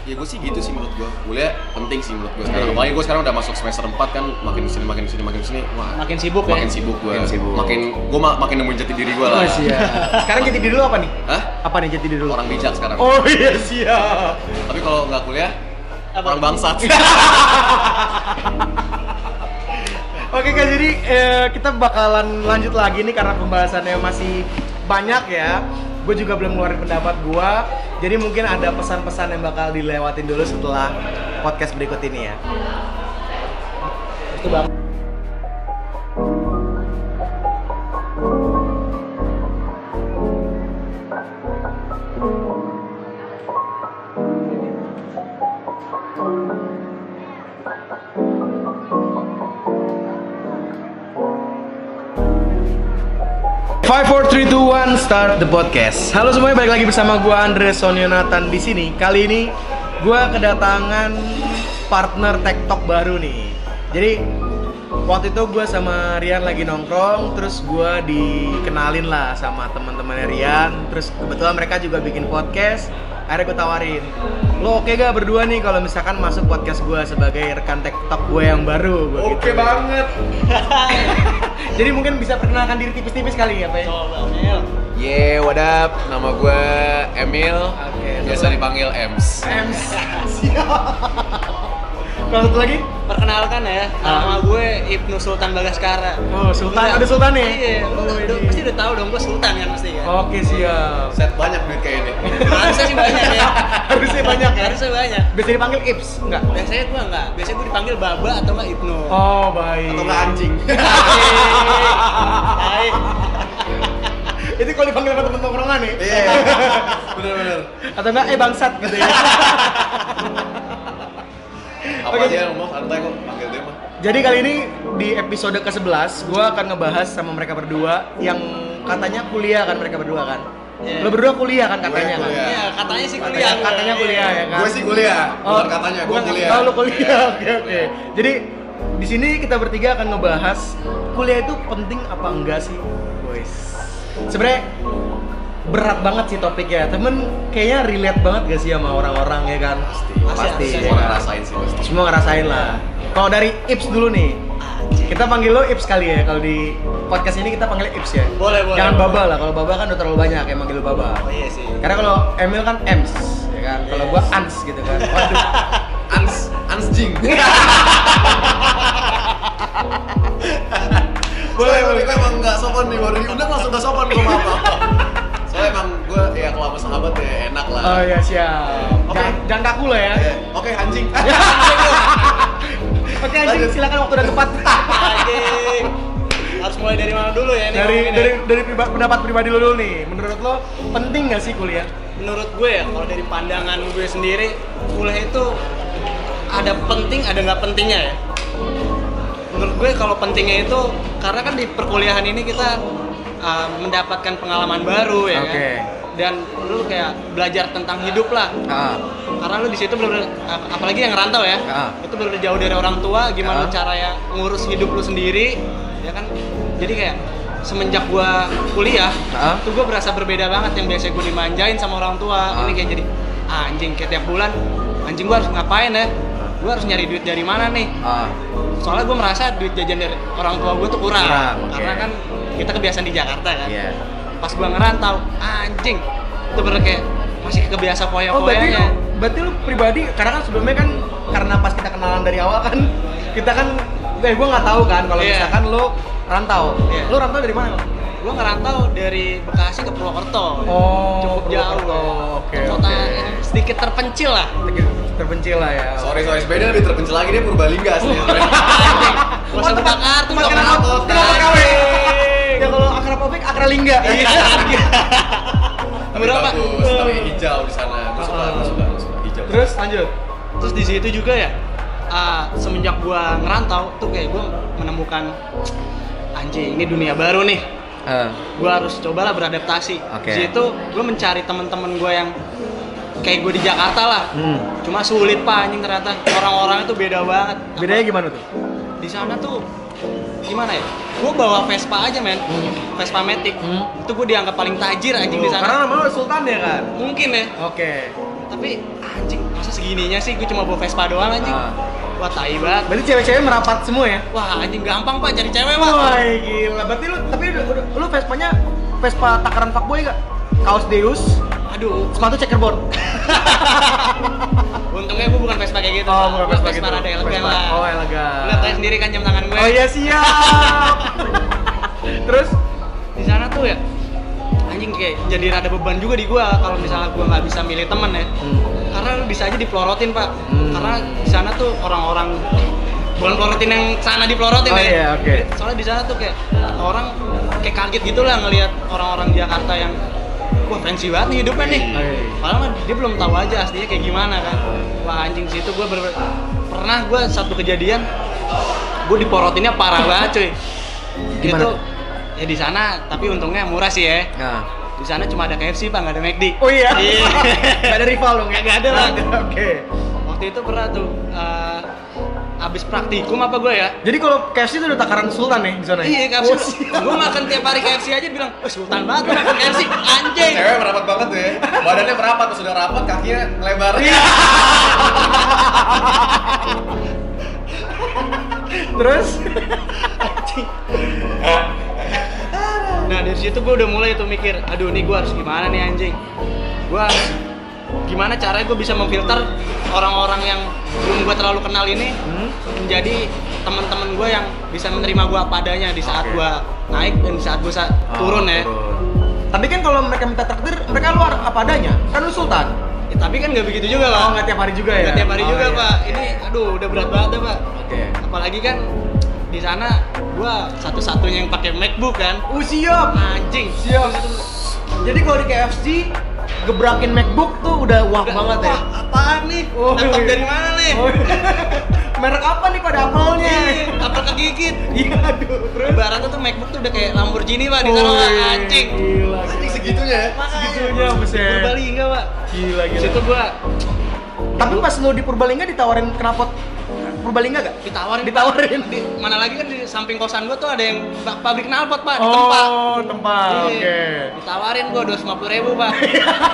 [SPEAKER 2] Ya gue sih gitu sih menurut gue Kuliah penting sih menurut gue
[SPEAKER 1] Iya.
[SPEAKER 2] sekarang Apalagi gue sekarang udah masuk semester 4 kan Makin sini, makin sini, makin sini Wah,
[SPEAKER 3] Makin sibuk ya?
[SPEAKER 2] makin sibuk gue
[SPEAKER 1] Makin sibuk.
[SPEAKER 2] Makin, gue makin nemuin jati diri gue
[SPEAKER 1] Oh,
[SPEAKER 2] lah
[SPEAKER 1] siap. Sekarang jadi diri lu apa nih?
[SPEAKER 2] Hah?
[SPEAKER 1] Apa nih jadi diri lu?
[SPEAKER 2] Orang bijak sekarang
[SPEAKER 1] Oh iya siap.
[SPEAKER 2] Tapi kalau nggak kuliah
[SPEAKER 3] Apa?
[SPEAKER 2] Orang bangsat
[SPEAKER 1] Oke kak, jadi eh, kita bakalan lanjut lagi nih karena pembahasannya masih banyak ya. Gue juga belum ngeluarin pendapat gue, jadi mungkin ada pesan-pesan yang bakal dilewatin dulu setelah podcast berikut ini ya. Itu bang. Five, four, three, two, one, start the podcast. Halo semuanya, balik lagi bersama gue Andre Sonionatan di sini. Kali ini gue kedatangan partner TikTok baru nih. Jadi waktu itu gue sama Rian lagi nongkrong, terus gue dikenalin lah sama teman-temannya Rian. Terus kebetulan mereka juga bikin podcast. Akhirnya gue tawarin, lo oke gak berdua nih kalau misalkan masuk podcast gue sebagai rekan TikTok gue yang baru? Gua gitu.
[SPEAKER 2] banget
[SPEAKER 1] Jadi mungkin bisa perkenalkan diri tipis-tipis kali ya, Pak? ya?
[SPEAKER 3] Coba, Mil.
[SPEAKER 2] Ye, what up? Nama gue Emil
[SPEAKER 1] Oke,
[SPEAKER 2] Biasa
[SPEAKER 1] satu-
[SPEAKER 2] dipanggil Ems
[SPEAKER 1] Ems Kalau satu lagi?
[SPEAKER 3] Perkenalkan ya, nama gue Ibnu Sultan Bagaskara.
[SPEAKER 1] Ah. Oh, Sultan. Ada Sultan ya?
[SPEAKER 3] Iya,
[SPEAKER 1] Oh,
[SPEAKER 3] udah- udah-
[SPEAKER 1] ini.
[SPEAKER 3] pasti udah tahu dong gue Sultan kan pasti kan.
[SPEAKER 1] Oke siap.
[SPEAKER 2] Set banyak duit kayak ini
[SPEAKER 3] Harusnya sih banyak ya.
[SPEAKER 1] Harusnya banyak ya.
[SPEAKER 3] Harusnya banyak.
[SPEAKER 1] Bisa dipanggil Ips enggak?
[SPEAKER 3] Biasanya gue enggak, biasanya gue dipanggil Baba atau enggak Ibnu.
[SPEAKER 1] Oh baik.
[SPEAKER 2] Atau nggak anjing
[SPEAKER 3] Hai.
[SPEAKER 1] Itu kalau dipanggil sama temen tongkrongan nih.
[SPEAKER 2] Iya, bener-bener
[SPEAKER 1] Atau enggak eh bangsat gitu ya.
[SPEAKER 2] Apa
[SPEAKER 1] Oke.
[SPEAKER 2] aja yang mau santai kok, panggil dia mah
[SPEAKER 1] Jadi kali ini di episode ke-11 gue akan ngebahas sama mereka berdua yang katanya kuliah kan mereka berdua kan.
[SPEAKER 3] Iya.
[SPEAKER 1] Lo berdua kuliah kan katanya
[SPEAKER 2] Gue kuliah.
[SPEAKER 1] kan?
[SPEAKER 3] Iya, katanya sih
[SPEAKER 1] Katanya,
[SPEAKER 3] kuliah.
[SPEAKER 1] katanya kuliah ya kan?
[SPEAKER 2] Gue sih kuliah, bukan katanya, gue
[SPEAKER 1] bukan-
[SPEAKER 2] kuliah.
[SPEAKER 1] Oh, lu kuliah. Oke, oke. Jadi di sini kita bertiga akan ngebahas kuliah itu penting apa enggak sih, boys. Sebenarnya berat banget sih topiknya. Temen kayaknya relate banget gak sih sama orang-orang ya kan? Pasti. Pasti.
[SPEAKER 2] Pasti,
[SPEAKER 1] ya
[SPEAKER 2] semua
[SPEAKER 1] kan?
[SPEAKER 2] orang Iya, rasain sih pasti.
[SPEAKER 1] Semua ngerasain lah. Kalau dari Ips dulu nih. Kita panggil lo Ips kali ya kalau di podcast ini kita panggil Ips ya.
[SPEAKER 3] Boleh, boleh.
[SPEAKER 1] Jangan Baba lah, kalau Baba kan udah terlalu banyak yang manggil lo Baba.
[SPEAKER 3] Oh iya sih.
[SPEAKER 1] Karena kalau Emil kan Ems, ya kan? Kalau gua Ans gitu kan. Waduh.
[SPEAKER 2] Ans, ans jing. boleh, boleh. Gue emang nggak sopan nih, baru diundang langsung nggak sopan gue maaf. maaf. Soalnya emang gue ya kalau sama sahabat ya enak lah.
[SPEAKER 1] Oh ya siap.
[SPEAKER 2] Oke.
[SPEAKER 1] Jangan, jangan kaku lah ya.
[SPEAKER 2] Eh, Oke, anjing.
[SPEAKER 1] Oke anjing,
[SPEAKER 2] Lanjut.
[SPEAKER 1] silakan waktu dan tempat.
[SPEAKER 3] Anjing. Harus mulai dari mana dulu ya nih
[SPEAKER 1] dari
[SPEAKER 3] ngomongin ya.
[SPEAKER 1] dari dari priba- pendapat pribadi lo dulu nih menurut lo penting nggak sih kuliah
[SPEAKER 3] menurut gue ya kalau dari pandangan gue sendiri kuliah itu ada penting ada nggak pentingnya ya menurut gue kalau pentingnya itu karena kan di perkuliahan ini kita uh, mendapatkan pengalaman baru ya
[SPEAKER 1] Oke.
[SPEAKER 3] kan dan lu kayak belajar tentang hidup lah
[SPEAKER 1] ah
[SPEAKER 3] karena lu di situ belum apalagi yang rantau ya
[SPEAKER 1] Ah.
[SPEAKER 3] itu belum jauh dari orang tua
[SPEAKER 1] Ah.
[SPEAKER 3] gimana cara ya ngurus hidup lu sendiri ya kan jadi kayak semenjak gua kuliah
[SPEAKER 1] Ah.
[SPEAKER 3] tuh gua berasa berbeda banget yang biasa gua dimanjain sama orang tua
[SPEAKER 1] Ah.
[SPEAKER 3] ini kayak jadi "Ah, anjing kayak tiap bulan anjing gua harus ngapain ya gua harus nyari duit dari mana nih
[SPEAKER 1] ah
[SPEAKER 3] soalnya gua merasa duit jajan dari orang tua gua tuh kurang
[SPEAKER 1] Kurang, oke.
[SPEAKER 3] karena kan kita kebiasaan di Jakarta kan
[SPEAKER 1] Iya.
[SPEAKER 3] pas gua ngerantau "Ah, anjing itu bener kayak masih kebiasa
[SPEAKER 1] oh berarti
[SPEAKER 3] poya-poyanya
[SPEAKER 1] lo berarti lo pribadi karena kan sebelumnya kan karena pas kita kenalan dari awal kan kita kan eh gue nggak tahu kan kalau
[SPEAKER 3] Iya.
[SPEAKER 1] misalkan lo rantau
[SPEAKER 3] Iya.
[SPEAKER 1] lo rantau dari mana
[SPEAKER 3] gue ngerantau dari Bekasi ke Purwokerto
[SPEAKER 1] Oh,
[SPEAKER 3] cukup jauh
[SPEAKER 1] Purwokerto.
[SPEAKER 3] ya.
[SPEAKER 1] Oke,
[SPEAKER 3] kota
[SPEAKER 1] oke.
[SPEAKER 3] yang sedikit terpencil lah
[SPEAKER 1] terpencil lah ya
[SPEAKER 2] Sorry, sorry, sebenarnya lebih terpencil lagi dia Purbalingga aslinya.
[SPEAKER 3] Gak usah buka kartu,
[SPEAKER 1] tempat
[SPEAKER 3] gak
[SPEAKER 1] kenal
[SPEAKER 3] kenal
[SPEAKER 1] tempat
[SPEAKER 2] pot,
[SPEAKER 1] kenal
[SPEAKER 2] kan.
[SPEAKER 1] KW. ya kalau akrab obek akrab lingga
[SPEAKER 3] Iya.
[SPEAKER 2] Tapi
[SPEAKER 3] murah pak
[SPEAKER 2] bagus, tapi hijau di sana. Gue suka, gue suka, gue suka hijau.
[SPEAKER 1] terus lanjut
[SPEAKER 3] terus di situ juga ya ah, semenjak gue ngerantau tuh kayak gue menemukan anjing ini dunia baru nih gue harus cobalah beradaptasi
[SPEAKER 1] Oke.
[SPEAKER 3] di situ gue mencari teman-teman gue yang kayak gue di Jakarta lah
[SPEAKER 1] Hmm.
[SPEAKER 3] cuma sulit pak anjing ternyata orang-orang itu beda banget
[SPEAKER 1] bedanya gimana tuh
[SPEAKER 3] di sana tuh gimana ya? Gue bawa Vespa aja men, Vespa Matic.
[SPEAKER 1] Hmm.
[SPEAKER 3] Itu gue dianggap paling tajir anjing di
[SPEAKER 1] Tuh, karena
[SPEAKER 3] sana.
[SPEAKER 1] nama lo Sultan ya kan
[SPEAKER 3] Mungkin ya,
[SPEAKER 1] oke
[SPEAKER 3] tapi anjing masa segininya sih gue cuma bawa Vespa doang anjing.
[SPEAKER 1] Ah.
[SPEAKER 3] Wah tai banget.
[SPEAKER 1] berarti cewek-cewek merapat semua ya
[SPEAKER 3] Wah anjing gampang pak cari cewek pak.
[SPEAKER 1] Wah gila, berarti lu tapi udah- lu Vespanya Vespa takaran fuckboy gak? Kaos Deus,
[SPEAKER 3] Aduh,
[SPEAKER 1] sepatu checkerboard.
[SPEAKER 3] untungnya gue bukan Vespa kayak gitu. Pak. Gua Vespa rada elegan lah.
[SPEAKER 1] Oh, elegan.
[SPEAKER 3] Lihat aja sendiri kan jam tangan gue.
[SPEAKER 1] Oh iya siap. Terus
[SPEAKER 3] Di sana tuh ya anjing kayak jadi rada beban juga di gue kalau misalnya gue nggak bisa milih temen ya. karena lu bisa aja dipelorotin pak
[SPEAKER 1] Hmm.
[SPEAKER 3] karena di sana tuh orang-orang bukan pelorotin yang sana dipelorotin
[SPEAKER 1] Oh
[SPEAKER 3] ya
[SPEAKER 1] iya, oke.
[SPEAKER 3] soalnya di sana tuh kayak orang kayak kaget gitu lah ngelihat orang-orang Jakarta yang wah fancy banget nih hidupnya nih
[SPEAKER 1] Iya.
[SPEAKER 3] padahal mah dia belum tahu aja aslinya kayak gimana kan wah anjing di situ gue bener pernah gue satu kejadian gue diporotinnya parah banget cuy
[SPEAKER 1] Gimana
[SPEAKER 3] itu
[SPEAKER 1] tuh?
[SPEAKER 3] ya di sana tapi untungnya murah sih ya
[SPEAKER 1] Nah.
[SPEAKER 3] di sana cuma ada KFC pak nggak ada McD
[SPEAKER 1] Oh iya.
[SPEAKER 3] Iya.
[SPEAKER 1] Gak ada rival dong ya?
[SPEAKER 3] Nggak ada lah.
[SPEAKER 1] Nggak ada, Oke.
[SPEAKER 3] waktu itu pernah tuh eh, abis praktikum apa gue ya
[SPEAKER 1] Jadi kalau KFC itu udah takaran Sultan nih di sana. ya?
[SPEAKER 3] iya
[SPEAKER 1] Oh,
[SPEAKER 3] KFC
[SPEAKER 1] siap.
[SPEAKER 3] gue makan tiap hari KFC aja bilang wah sultan banget gua makan KFC anjing
[SPEAKER 2] Cewek merapat banget tuh ya. Badannya merapat, pas sudah rapat kakinya lebar.
[SPEAKER 1] Iya. iya. Terus
[SPEAKER 3] nah dari situ gue udah mulai tuh mikir aduh nih gue harus gimana nih anjing gue gimana caranya gue bisa memfilter orang-orang yang belum gue terlalu kenal ini
[SPEAKER 1] Hmm?
[SPEAKER 3] menjadi teman-teman gue yang bisa menerima gue apa adanya di saat
[SPEAKER 1] Oke. Oh,
[SPEAKER 3] gue naik dan di saat gue turun ya
[SPEAKER 1] Ah, Tapi kan kalau mereka minta traktir, mereka luar apa adanya. Kan lu Sultan.
[SPEAKER 3] Ya, tapi kan nggak begitu juga
[SPEAKER 1] Oh,
[SPEAKER 3] lah
[SPEAKER 1] nggak tiap hari juga ya?
[SPEAKER 3] Nggak tiap hari
[SPEAKER 1] Oh,
[SPEAKER 3] juga
[SPEAKER 1] iya.
[SPEAKER 3] pak ini aduh udah berat banget ya pak
[SPEAKER 1] Oke.
[SPEAKER 3] apalagi kan di sana gua satu-satunya yang pakai MacBook kan
[SPEAKER 1] Oh, siap.
[SPEAKER 3] anjing
[SPEAKER 1] Siap. Jadi kalau di KFC gebrakin MacBook tuh udah wah
[SPEAKER 3] Udah,
[SPEAKER 1] banget ya.
[SPEAKER 3] wah, apaan nih
[SPEAKER 1] Oh,
[SPEAKER 3] nangkep
[SPEAKER 1] iya.
[SPEAKER 3] dari mana nih
[SPEAKER 1] Oh, Merek apa nih pada apelnya?
[SPEAKER 3] Ih, apel kegigit
[SPEAKER 1] Iya, aduh. Terus Oh,
[SPEAKER 3] ibaratnya tuh MacBook tuh udah kayak Lamborghini pak di sana
[SPEAKER 1] Wih,
[SPEAKER 3] pak anjing
[SPEAKER 1] iya. Gila.
[SPEAKER 2] Ini segitunya ya.
[SPEAKER 1] Segitunya, buset.
[SPEAKER 3] berbalik enggak pak
[SPEAKER 1] Gila,
[SPEAKER 3] di
[SPEAKER 1] gila.
[SPEAKER 3] situ gua
[SPEAKER 1] Tapi pas lu di Purbalingga ditawarin knalpot Purbalingga gak?
[SPEAKER 3] ditawarin Pak.
[SPEAKER 1] Ditawarin.
[SPEAKER 3] di, mana lagi kan di samping kosan gua tuh ada yang ba- pabrik knalpot pak di tempat
[SPEAKER 1] Oh, tempat. Oke.
[SPEAKER 3] Iya, Ditawarin gua 250 ribu pak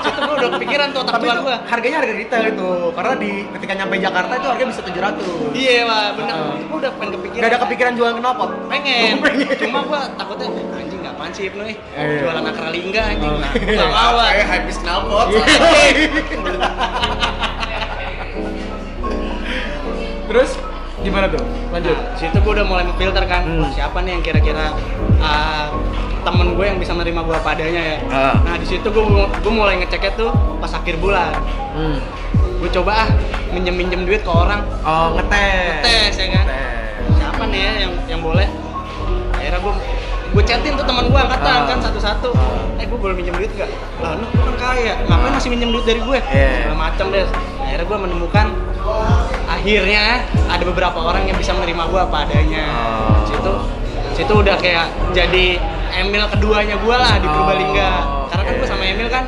[SPEAKER 3] Situ gua udah kepikiran tuh otak
[SPEAKER 1] Tapi
[SPEAKER 3] tua
[SPEAKER 1] itu
[SPEAKER 3] gua
[SPEAKER 1] harganya harga retail itu. Karena di ketika nyampe Jakarta itu harganya bisa 700.
[SPEAKER 3] Iya pak, bener
[SPEAKER 1] Heeh.
[SPEAKER 3] Gua udah pengen kepikiran
[SPEAKER 1] Gak Oh. ada kepikiran jualan knalpot.
[SPEAKER 3] Pengen,
[SPEAKER 1] Oh, pengen.
[SPEAKER 3] Cuma gua takutnya, "Eh, anjing gak apaan sih Ibnu eh
[SPEAKER 1] iya.
[SPEAKER 3] Jualan akralingga anjing
[SPEAKER 1] Oh.
[SPEAKER 3] Nah, gua Gak mau Pak.
[SPEAKER 2] Kayak hype is knalpot.
[SPEAKER 1] Iya. Terus gimana tuh? Lanjut.
[SPEAKER 3] Nah, situ gua udah mulai memfilter kan
[SPEAKER 1] Hmm.
[SPEAKER 3] Wah, Siapa nih yang kira-kira ah, temen gue yang bisa menerima gua padanya ya
[SPEAKER 1] Ah.
[SPEAKER 3] Nah di situ gua, gua mulai ngeceknya tuh pas akhir bulan
[SPEAKER 1] Hmm.
[SPEAKER 3] Gua coba ah minjem-minjem duit ke orang
[SPEAKER 1] Oh, ngetes.
[SPEAKER 3] Ngetes, ya kan?
[SPEAKER 1] Ngetes.
[SPEAKER 3] siapa nih ya yang yang boleh akhirnya gue gue chatin tuh teman gue angkatan
[SPEAKER 1] Ah.
[SPEAKER 3] kan satu-satu
[SPEAKER 1] Ah.
[SPEAKER 3] eh gue boleh minjem duit gak? lah lu kan kaya ngapain
[SPEAKER 1] Ah.
[SPEAKER 3] masih minjem duit dari gue?
[SPEAKER 1] Iya.
[SPEAKER 3] Segala macam deh akhirnya gue menemukan akhirnya ada beberapa orang yang bisa menerima gue apa adanya
[SPEAKER 1] Ah.
[SPEAKER 3] situ situ udah kayak jadi Emil keduanya gue lah di
[SPEAKER 1] Oh,
[SPEAKER 3] Purbalingga karena kan
[SPEAKER 1] oke.
[SPEAKER 3] gue sama Emil kan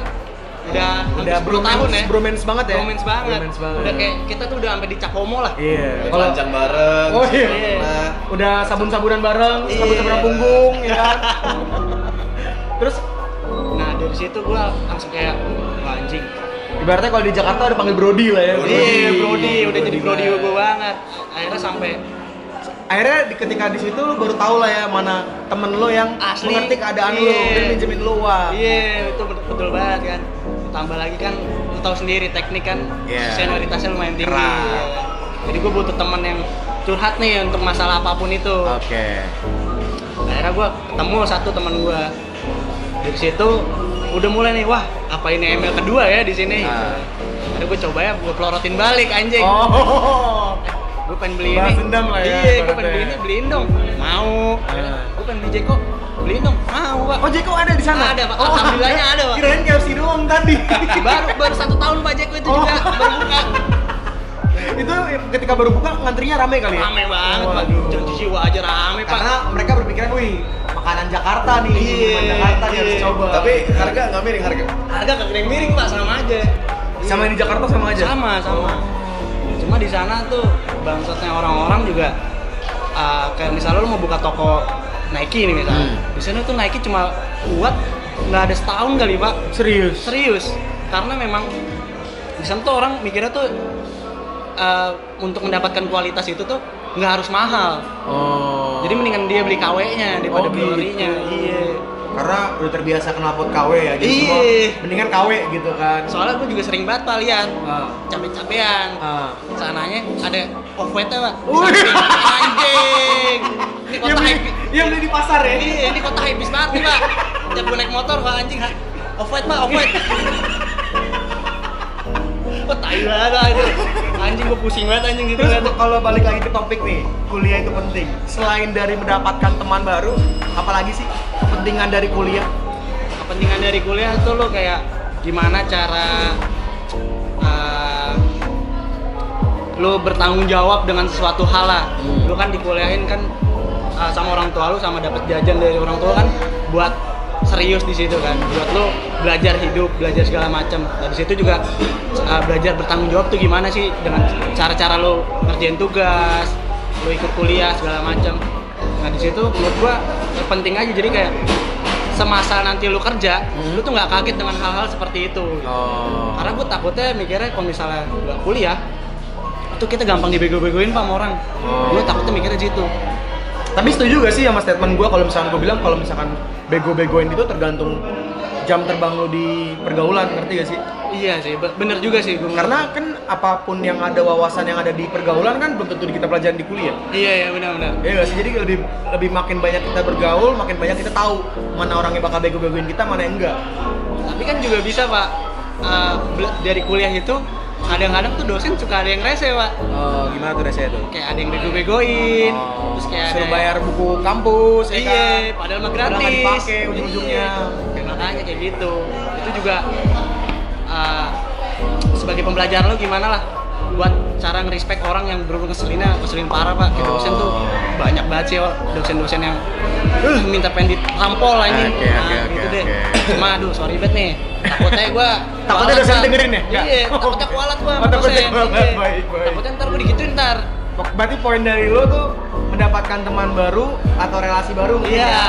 [SPEAKER 3] udah
[SPEAKER 1] Udah
[SPEAKER 3] hampir 10 tahun ya
[SPEAKER 1] bromance banget ya?
[SPEAKER 3] bromance banget.
[SPEAKER 1] Bromance banget.
[SPEAKER 3] udah kayak kita tuh udah sampai dicap homo lah
[SPEAKER 1] Iya.
[SPEAKER 2] Kalau bareng.
[SPEAKER 1] Oh iya.
[SPEAKER 2] Nah,
[SPEAKER 1] Udah sabun-sabunan bareng,
[SPEAKER 3] Iya.
[SPEAKER 1] sabun-sabunan punggung ya kan. Terus
[SPEAKER 3] Nah dari situ gue langsung kayak wah anjing.
[SPEAKER 1] ibaratnya kalau di Jakarta udah panggil Brody lah ya.
[SPEAKER 2] Brody.
[SPEAKER 3] Iya Brody udah jadi Brody
[SPEAKER 1] banget.
[SPEAKER 3] gue banget. Akhirnya sampai
[SPEAKER 1] Akhirnya di- ketika di situ lu baru tahu lah ya mana temen lo yang
[SPEAKER 3] Asli.
[SPEAKER 1] mengerti keadaan lu,
[SPEAKER 3] Iya.
[SPEAKER 1] dia minjemin lu wah.
[SPEAKER 3] iya itu betul, betul banget kan. Tambah lagi kan lu tahu sendiri teknik kan
[SPEAKER 1] Iya.
[SPEAKER 3] senioritasnya lumayan tinggi.
[SPEAKER 1] Keras.
[SPEAKER 3] Jadi gue butuh temen yang curhat nih untuk masalah apapun itu.
[SPEAKER 1] Oke.
[SPEAKER 3] Akhirnya gue ketemu satu teman gue. Dari situ udah mulai nih wah apa ini ML kedua ya di sini.
[SPEAKER 1] Ah.
[SPEAKER 2] Nah,
[SPEAKER 3] Akhirnya gue coba ya gue pelorotin balik anjing.
[SPEAKER 1] Oh.
[SPEAKER 3] gue pengen beli
[SPEAKER 1] Balas
[SPEAKER 3] ini
[SPEAKER 1] dendam lah ya,
[SPEAKER 3] iya gue pengen
[SPEAKER 1] ibaratnya.
[SPEAKER 3] beli ini beliin dong mau
[SPEAKER 1] Ah.
[SPEAKER 3] gue pengen beli Jeko beliin dong mau pak
[SPEAKER 1] Oh Jeko ada di sana?
[SPEAKER 3] Ada, Pak.
[SPEAKER 1] Oh,
[SPEAKER 3] Alhamdulillahnya ada, Pak.
[SPEAKER 1] Kirain KFC doang tadi.
[SPEAKER 3] baru baru satu tahun pak Jeko itu
[SPEAKER 1] Oh.
[SPEAKER 3] juga baru buka
[SPEAKER 1] itu ketika baru buka ngantrinya rame kali ya?
[SPEAKER 3] rame banget pak
[SPEAKER 1] Waduh.
[SPEAKER 3] cuci jiwa aja rame pak
[SPEAKER 1] Karena mereka berpikiran, wih makanan Jakarta nih,
[SPEAKER 3] Iya,
[SPEAKER 1] minuman Jakarta nih
[SPEAKER 3] iya.
[SPEAKER 1] harus coba.
[SPEAKER 2] tapi harga nggak miring harga.
[SPEAKER 3] harga gak kering miring pak sama aja
[SPEAKER 1] sama yang di Jakarta sama aja.
[SPEAKER 3] sama sama cuma di sana tuh bangsatnya orang-orang juga eh, kayak misalnya lo mau buka toko Nike nih misalnya
[SPEAKER 1] Hmm.
[SPEAKER 3] di sana tuh Nike cuma kuat nggak ada setahun kali pak
[SPEAKER 1] Serius.
[SPEAKER 3] serius karena memang di sana tuh orang mikirnya tuh eh, untuk mendapatkan kualitas itu tuh nggak harus mahal
[SPEAKER 1] Oh.
[SPEAKER 3] jadi mendingan dia beli KW-nya daripada
[SPEAKER 1] Oh,
[SPEAKER 3] beli ori-nya
[SPEAKER 1] gitu.
[SPEAKER 3] iya
[SPEAKER 1] karena udah terbiasa knalpot KW ya jadi
[SPEAKER 3] Iya.
[SPEAKER 1] semua mendingan KW gitu kan.
[SPEAKER 3] soalnya gue juga sering banget pak lihat
[SPEAKER 1] Ah.
[SPEAKER 3] capek-capean
[SPEAKER 1] Ah.
[SPEAKER 3] sananya ada off white pak
[SPEAKER 1] Wih.
[SPEAKER 3] anjing ini
[SPEAKER 1] Yang Iya,
[SPEAKER 3] kota
[SPEAKER 1] beli,
[SPEAKER 3] hype
[SPEAKER 1] yang beli di pasar ya.
[SPEAKER 3] ini ini kota hype banget nih pak tiap gue naik motor pak anjing off white pak off white Oh, tai banget Pak, itu. Anjing gue pusing banget anjing gitu.
[SPEAKER 1] Terus kalau balik lagi ke topik nih, kuliah itu penting. Selain dari mendapatkan teman baru, apalagi sih kepentingan dari kuliah?
[SPEAKER 3] kepentingan dari kuliah tuh lo kayak gimana cara uh, lo bertanggung jawab dengan sesuatu hal lah
[SPEAKER 1] Hmm.
[SPEAKER 3] lo kan dikuliahin kan uh, sama orang tua lo sama dapat jajan dari orang tua kan buat serius di situ kan buat lo belajar hidup belajar segala macam dari situ juga uh, belajar bertanggung jawab tuh gimana sih dengan cara-cara lo ngerjain tugas lo ikut kuliah segala macam nah di situ menurut gua ya penting aja jadi kayak semasa nanti lu kerja, lu tuh nggak kaget dengan hal-hal seperti itu.
[SPEAKER 1] Hmm. Oh.
[SPEAKER 3] Karena gue takutnya mikirnya kalau misalnya nggak kuliah, itu kita gampang dibego-begoin pak sama orang.
[SPEAKER 1] Oh.
[SPEAKER 3] Gue takutnya mikirnya gitu.
[SPEAKER 1] Tapi setuju gak sih sama statement gue kalau misalkan gue bilang kalau misalkan bego-begoin itu tergantung jam terbang lo di pergaulan, ngerti gak sih?
[SPEAKER 3] Iya sih, be- bener juga sih gue.
[SPEAKER 1] Karena kan apapun yang ada wawasan yang ada di pergaulan kan belum tentu kita pelajaran di kuliah.
[SPEAKER 3] iya iya benar-benar.
[SPEAKER 1] Iya gak sih? Jadi lebih, lebih makin banyak kita bergaul, makin banyak kita tahu mana orang yang bakal bego-begoin kita, mana yang enggak.
[SPEAKER 3] Tapi kan juga bisa pak eh, bela- dari kuliah itu kadang-kadang tuh dosen suka ada yang rese pak.
[SPEAKER 1] Oh, gimana tuh rasanya tuh? Oh,
[SPEAKER 3] Kayak ada yang bego-begoin, terus kayak ada
[SPEAKER 1] suruh
[SPEAKER 3] yang-
[SPEAKER 1] bayar buku kampus, ya
[SPEAKER 3] Iya,
[SPEAKER 1] kan?
[SPEAKER 3] padahal mah
[SPEAKER 1] Padahal nggak
[SPEAKER 3] gratis.
[SPEAKER 1] dipakai ujung-ujungnya.
[SPEAKER 3] Iya. Ya, makanya kayak gitu. Itu juga uh, sebagai pembelajaran lo gimana lah buat cara ngerespek orang yang bener-bener ngeselinnya, ngeselin parah pak. Kayak dosen tuh
[SPEAKER 1] Oh.
[SPEAKER 3] banyak banget sih Wak, dosen-dosen yang "Uh, minta pengen ditampol lah
[SPEAKER 1] Ah,
[SPEAKER 3] ini.
[SPEAKER 1] Oke, oke, oke,
[SPEAKER 3] gitu deh.
[SPEAKER 1] oke.
[SPEAKER 3] Cuma aduh sorry banget nih. Takutnya gua
[SPEAKER 1] Takutnya
[SPEAKER 3] kualat,
[SPEAKER 1] dosen
[SPEAKER 3] Pak.
[SPEAKER 1] dengerin ya? Nggak?
[SPEAKER 3] Iya,
[SPEAKER 1] Oh,
[SPEAKER 3] takutnya
[SPEAKER 1] oke.
[SPEAKER 3] kualat gua.
[SPEAKER 1] Oh,
[SPEAKER 3] sama
[SPEAKER 1] takutnya
[SPEAKER 3] dosen.
[SPEAKER 1] kualat.
[SPEAKER 3] Iya.
[SPEAKER 1] Baik, baik.
[SPEAKER 3] Takutnya ntar gua digituin ntar.
[SPEAKER 1] Berarti poin dari lo tuh mendapatkan teman baru atau relasi baru mungkin
[SPEAKER 3] Iya.
[SPEAKER 1] ya?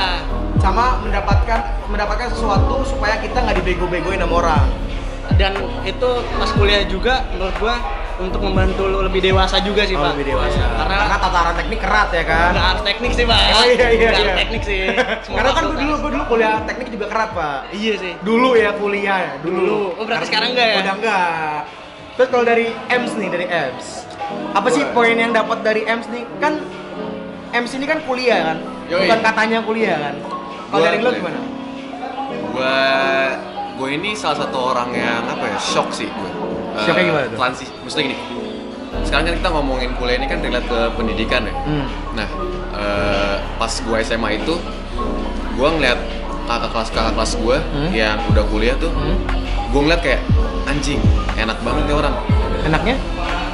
[SPEAKER 1] sama mendapatkan mendapatkan sesuatu supaya kita nggak dibego-begoin sama orang.
[SPEAKER 3] dan itu pas kuliah juga menurut gua untuk membantu lu lebih dewasa juga sih
[SPEAKER 1] Oh,
[SPEAKER 3] pak
[SPEAKER 1] lebih dewasa.
[SPEAKER 3] karena
[SPEAKER 1] Karena tataran teknik kerat ya kan.
[SPEAKER 3] nggak harus teknik sih pak
[SPEAKER 1] Oh iya iya
[SPEAKER 3] Nggak
[SPEAKER 1] iya.
[SPEAKER 3] harus teknik sih Semua
[SPEAKER 1] Karena kan
[SPEAKER 3] fakultas.
[SPEAKER 1] gue dulu gue dulu kuliah teknik juga kerat pak.
[SPEAKER 3] iya sih
[SPEAKER 1] Dulu ya kuliah ya dulu.
[SPEAKER 3] Dulu. Oh, berarti sekarang nggak ya?
[SPEAKER 1] Udah enggak. Terus kalau dari EMS nih dari EMS, apa sih
[SPEAKER 2] Boleh.
[SPEAKER 1] poin yang dapat dari EMS nih? Kan EMS ini kan kuliah kan,
[SPEAKER 2] Yoi.
[SPEAKER 1] bukan katanya kuliah kan. Kalau
[SPEAKER 2] Gua-
[SPEAKER 1] dari lo gimana?
[SPEAKER 2] Gua gua ini salah satu orang yang apa ya? Shock sih gua. Eh,
[SPEAKER 1] Shocknya gimana tuh?
[SPEAKER 2] Transisi. Maksudnya gini. Sekarang kan kita ngomongin kuliah ini kan relate ke pendidikan ya.
[SPEAKER 1] Hmm.
[SPEAKER 2] Nah, eh, pas gua SMA itu, gue ngeliat kakak kelas kakak kelas gue
[SPEAKER 1] Hmm.
[SPEAKER 2] yang udah kuliah tuh, gue ngeliat kayak anjing enak banget nih orang.
[SPEAKER 1] Enaknya?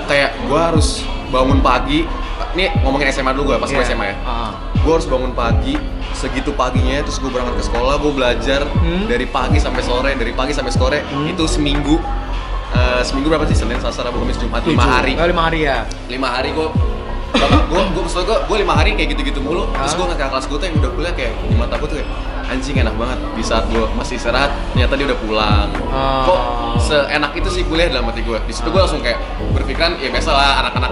[SPEAKER 2] Kayak gue harus bangun pagi. Nih ngomongin SMA dulu gue pas gue
[SPEAKER 1] Iya.
[SPEAKER 2] SMA ya.
[SPEAKER 1] Ah.
[SPEAKER 2] Gue harus bangun pagi segitu paginya terus gue berangkat ke sekolah gue belajar
[SPEAKER 1] Hmm.
[SPEAKER 2] dari pagi sampai sore dari pagi sampai sore
[SPEAKER 1] Hmm.
[SPEAKER 2] itu seminggu eh, seminggu berapa sih Senin Selasa Rabu Kamis Jumat
[SPEAKER 1] Tujuh.
[SPEAKER 2] lima hari
[SPEAKER 1] Oh, lima hari ya.
[SPEAKER 2] lima hari gue gue gue maksud gue gue lima hari kayak gitu-gitu mulu terus gue ngeliat kakak kelas gue tuh yang udah kuliah kayak di mata gue tuh kayak anjing enak banget di saat gue masih istirahat ternyata dia udah pulang
[SPEAKER 1] Ah.
[SPEAKER 2] kok seenak itu sih kuliah dalam hati gue di situ gue langsung kayak berpikiran ya biasa lah anak-anak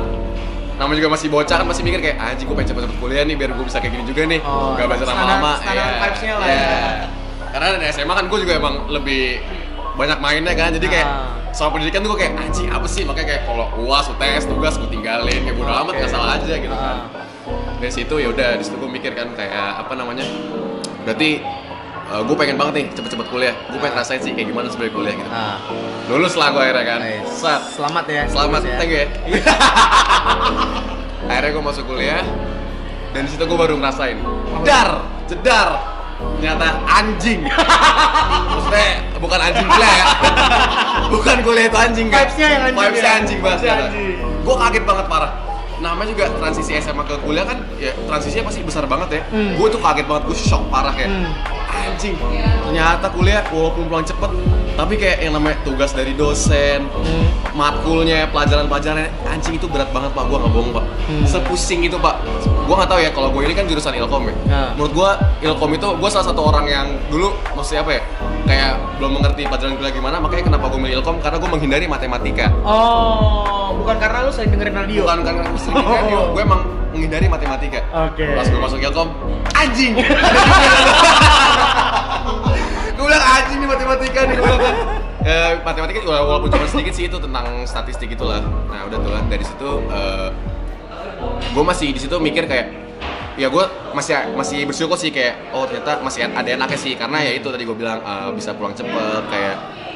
[SPEAKER 2] namanya juga masih bocah kan masih mikir kayak anjing gue pengen cepet-cepet kuliah nih biar gue bisa kayak gini juga nih
[SPEAKER 1] Oh,
[SPEAKER 2] gak belajar
[SPEAKER 1] standar-
[SPEAKER 2] lama-lama
[SPEAKER 1] standar
[SPEAKER 2] Iya,
[SPEAKER 1] vibes-nya lah,
[SPEAKER 2] iya.
[SPEAKER 1] ya.
[SPEAKER 2] karena dari SMA kan gue juga emang lebih banyak mainnya kan jadi kayak
[SPEAKER 1] Ah.
[SPEAKER 2] soal pendidikan tuh gue kayak anjing apa sih makanya kayak kalau uas UTS tugas gue tinggalin kayak bodo amat
[SPEAKER 1] Oke.
[SPEAKER 2] nggak salah aja gitu kan
[SPEAKER 1] Ah.
[SPEAKER 2] dari situ ya udah di situ gue mikir kan kayak apa namanya berarti gue pengen banget nih cepet-cepet kuliah gue pengen rasain sih kayak gimana sebenarnya kuliah gitu
[SPEAKER 1] Ah.
[SPEAKER 2] lulus lah gue akhirnya kan
[SPEAKER 1] Nice.
[SPEAKER 2] Set.
[SPEAKER 1] Selamat ya.
[SPEAKER 2] selamat
[SPEAKER 1] ya.
[SPEAKER 2] thank you ya akhirnya gue masuk kuliah dan di situ gue baru ngerasain jedar jedar ternyata anjing maksudnya bukan anjing kuliah ya bukan kuliah itu anjing kan
[SPEAKER 1] Vibes-nya yang anjing
[SPEAKER 2] Vibes-nya
[SPEAKER 1] ya?
[SPEAKER 2] anjing banget
[SPEAKER 1] Vibes-nya anjing.
[SPEAKER 2] gue kaget banget parah namanya juga transisi SMA ke kuliah kan ya transisinya pasti besar banget ya
[SPEAKER 1] Hmm.
[SPEAKER 2] gue tuh kaget banget gue shock parah kayak
[SPEAKER 1] Hmm.
[SPEAKER 2] anjing ternyata kuliah walaupun pulang cepet tapi kayak yang namanya tugas dari dosen
[SPEAKER 1] Hmm.
[SPEAKER 2] matkulnya pelajaran-pelajarannya anjing itu berat banget pak gua nggak bohong pak
[SPEAKER 1] Hmm.
[SPEAKER 2] sepusing itu pak gua nggak tahu ya kalau gue ini kan jurusan ilkom ya
[SPEAKER 1] Ya.
[SPEAKER 2] menurut gua ilkom itu gua salah satu orang yang dulu maksudnya apa ya kayak belum mengerti pelajaran kuliah gimana makanya kenapa gua milih ilkom karena gua menghindari matematika
[SPEAKER 1] Oh, bukan karena lu sering dengerin radio. Oh.
[SPEAKER 2] bukan karena gua sering kan gue emang menghindari matematika
[SPEAKER 1] Oke.
[SPEAKER 2] pas gua masuk ilkom anjing gue bilang anjing nih matematika nih gue bilang Eh, matematika wala- walaupun cuma sedikit sih itu tentang statistik itulah nah udah tuh kan dari situ eh, gue masih di situ mikir kayak ya gue masih masih bersyukur sih kayak oh ternyata masih ada enaknya sih karena ya itu tadi gue bilang eh, bisa pulang cepet kayak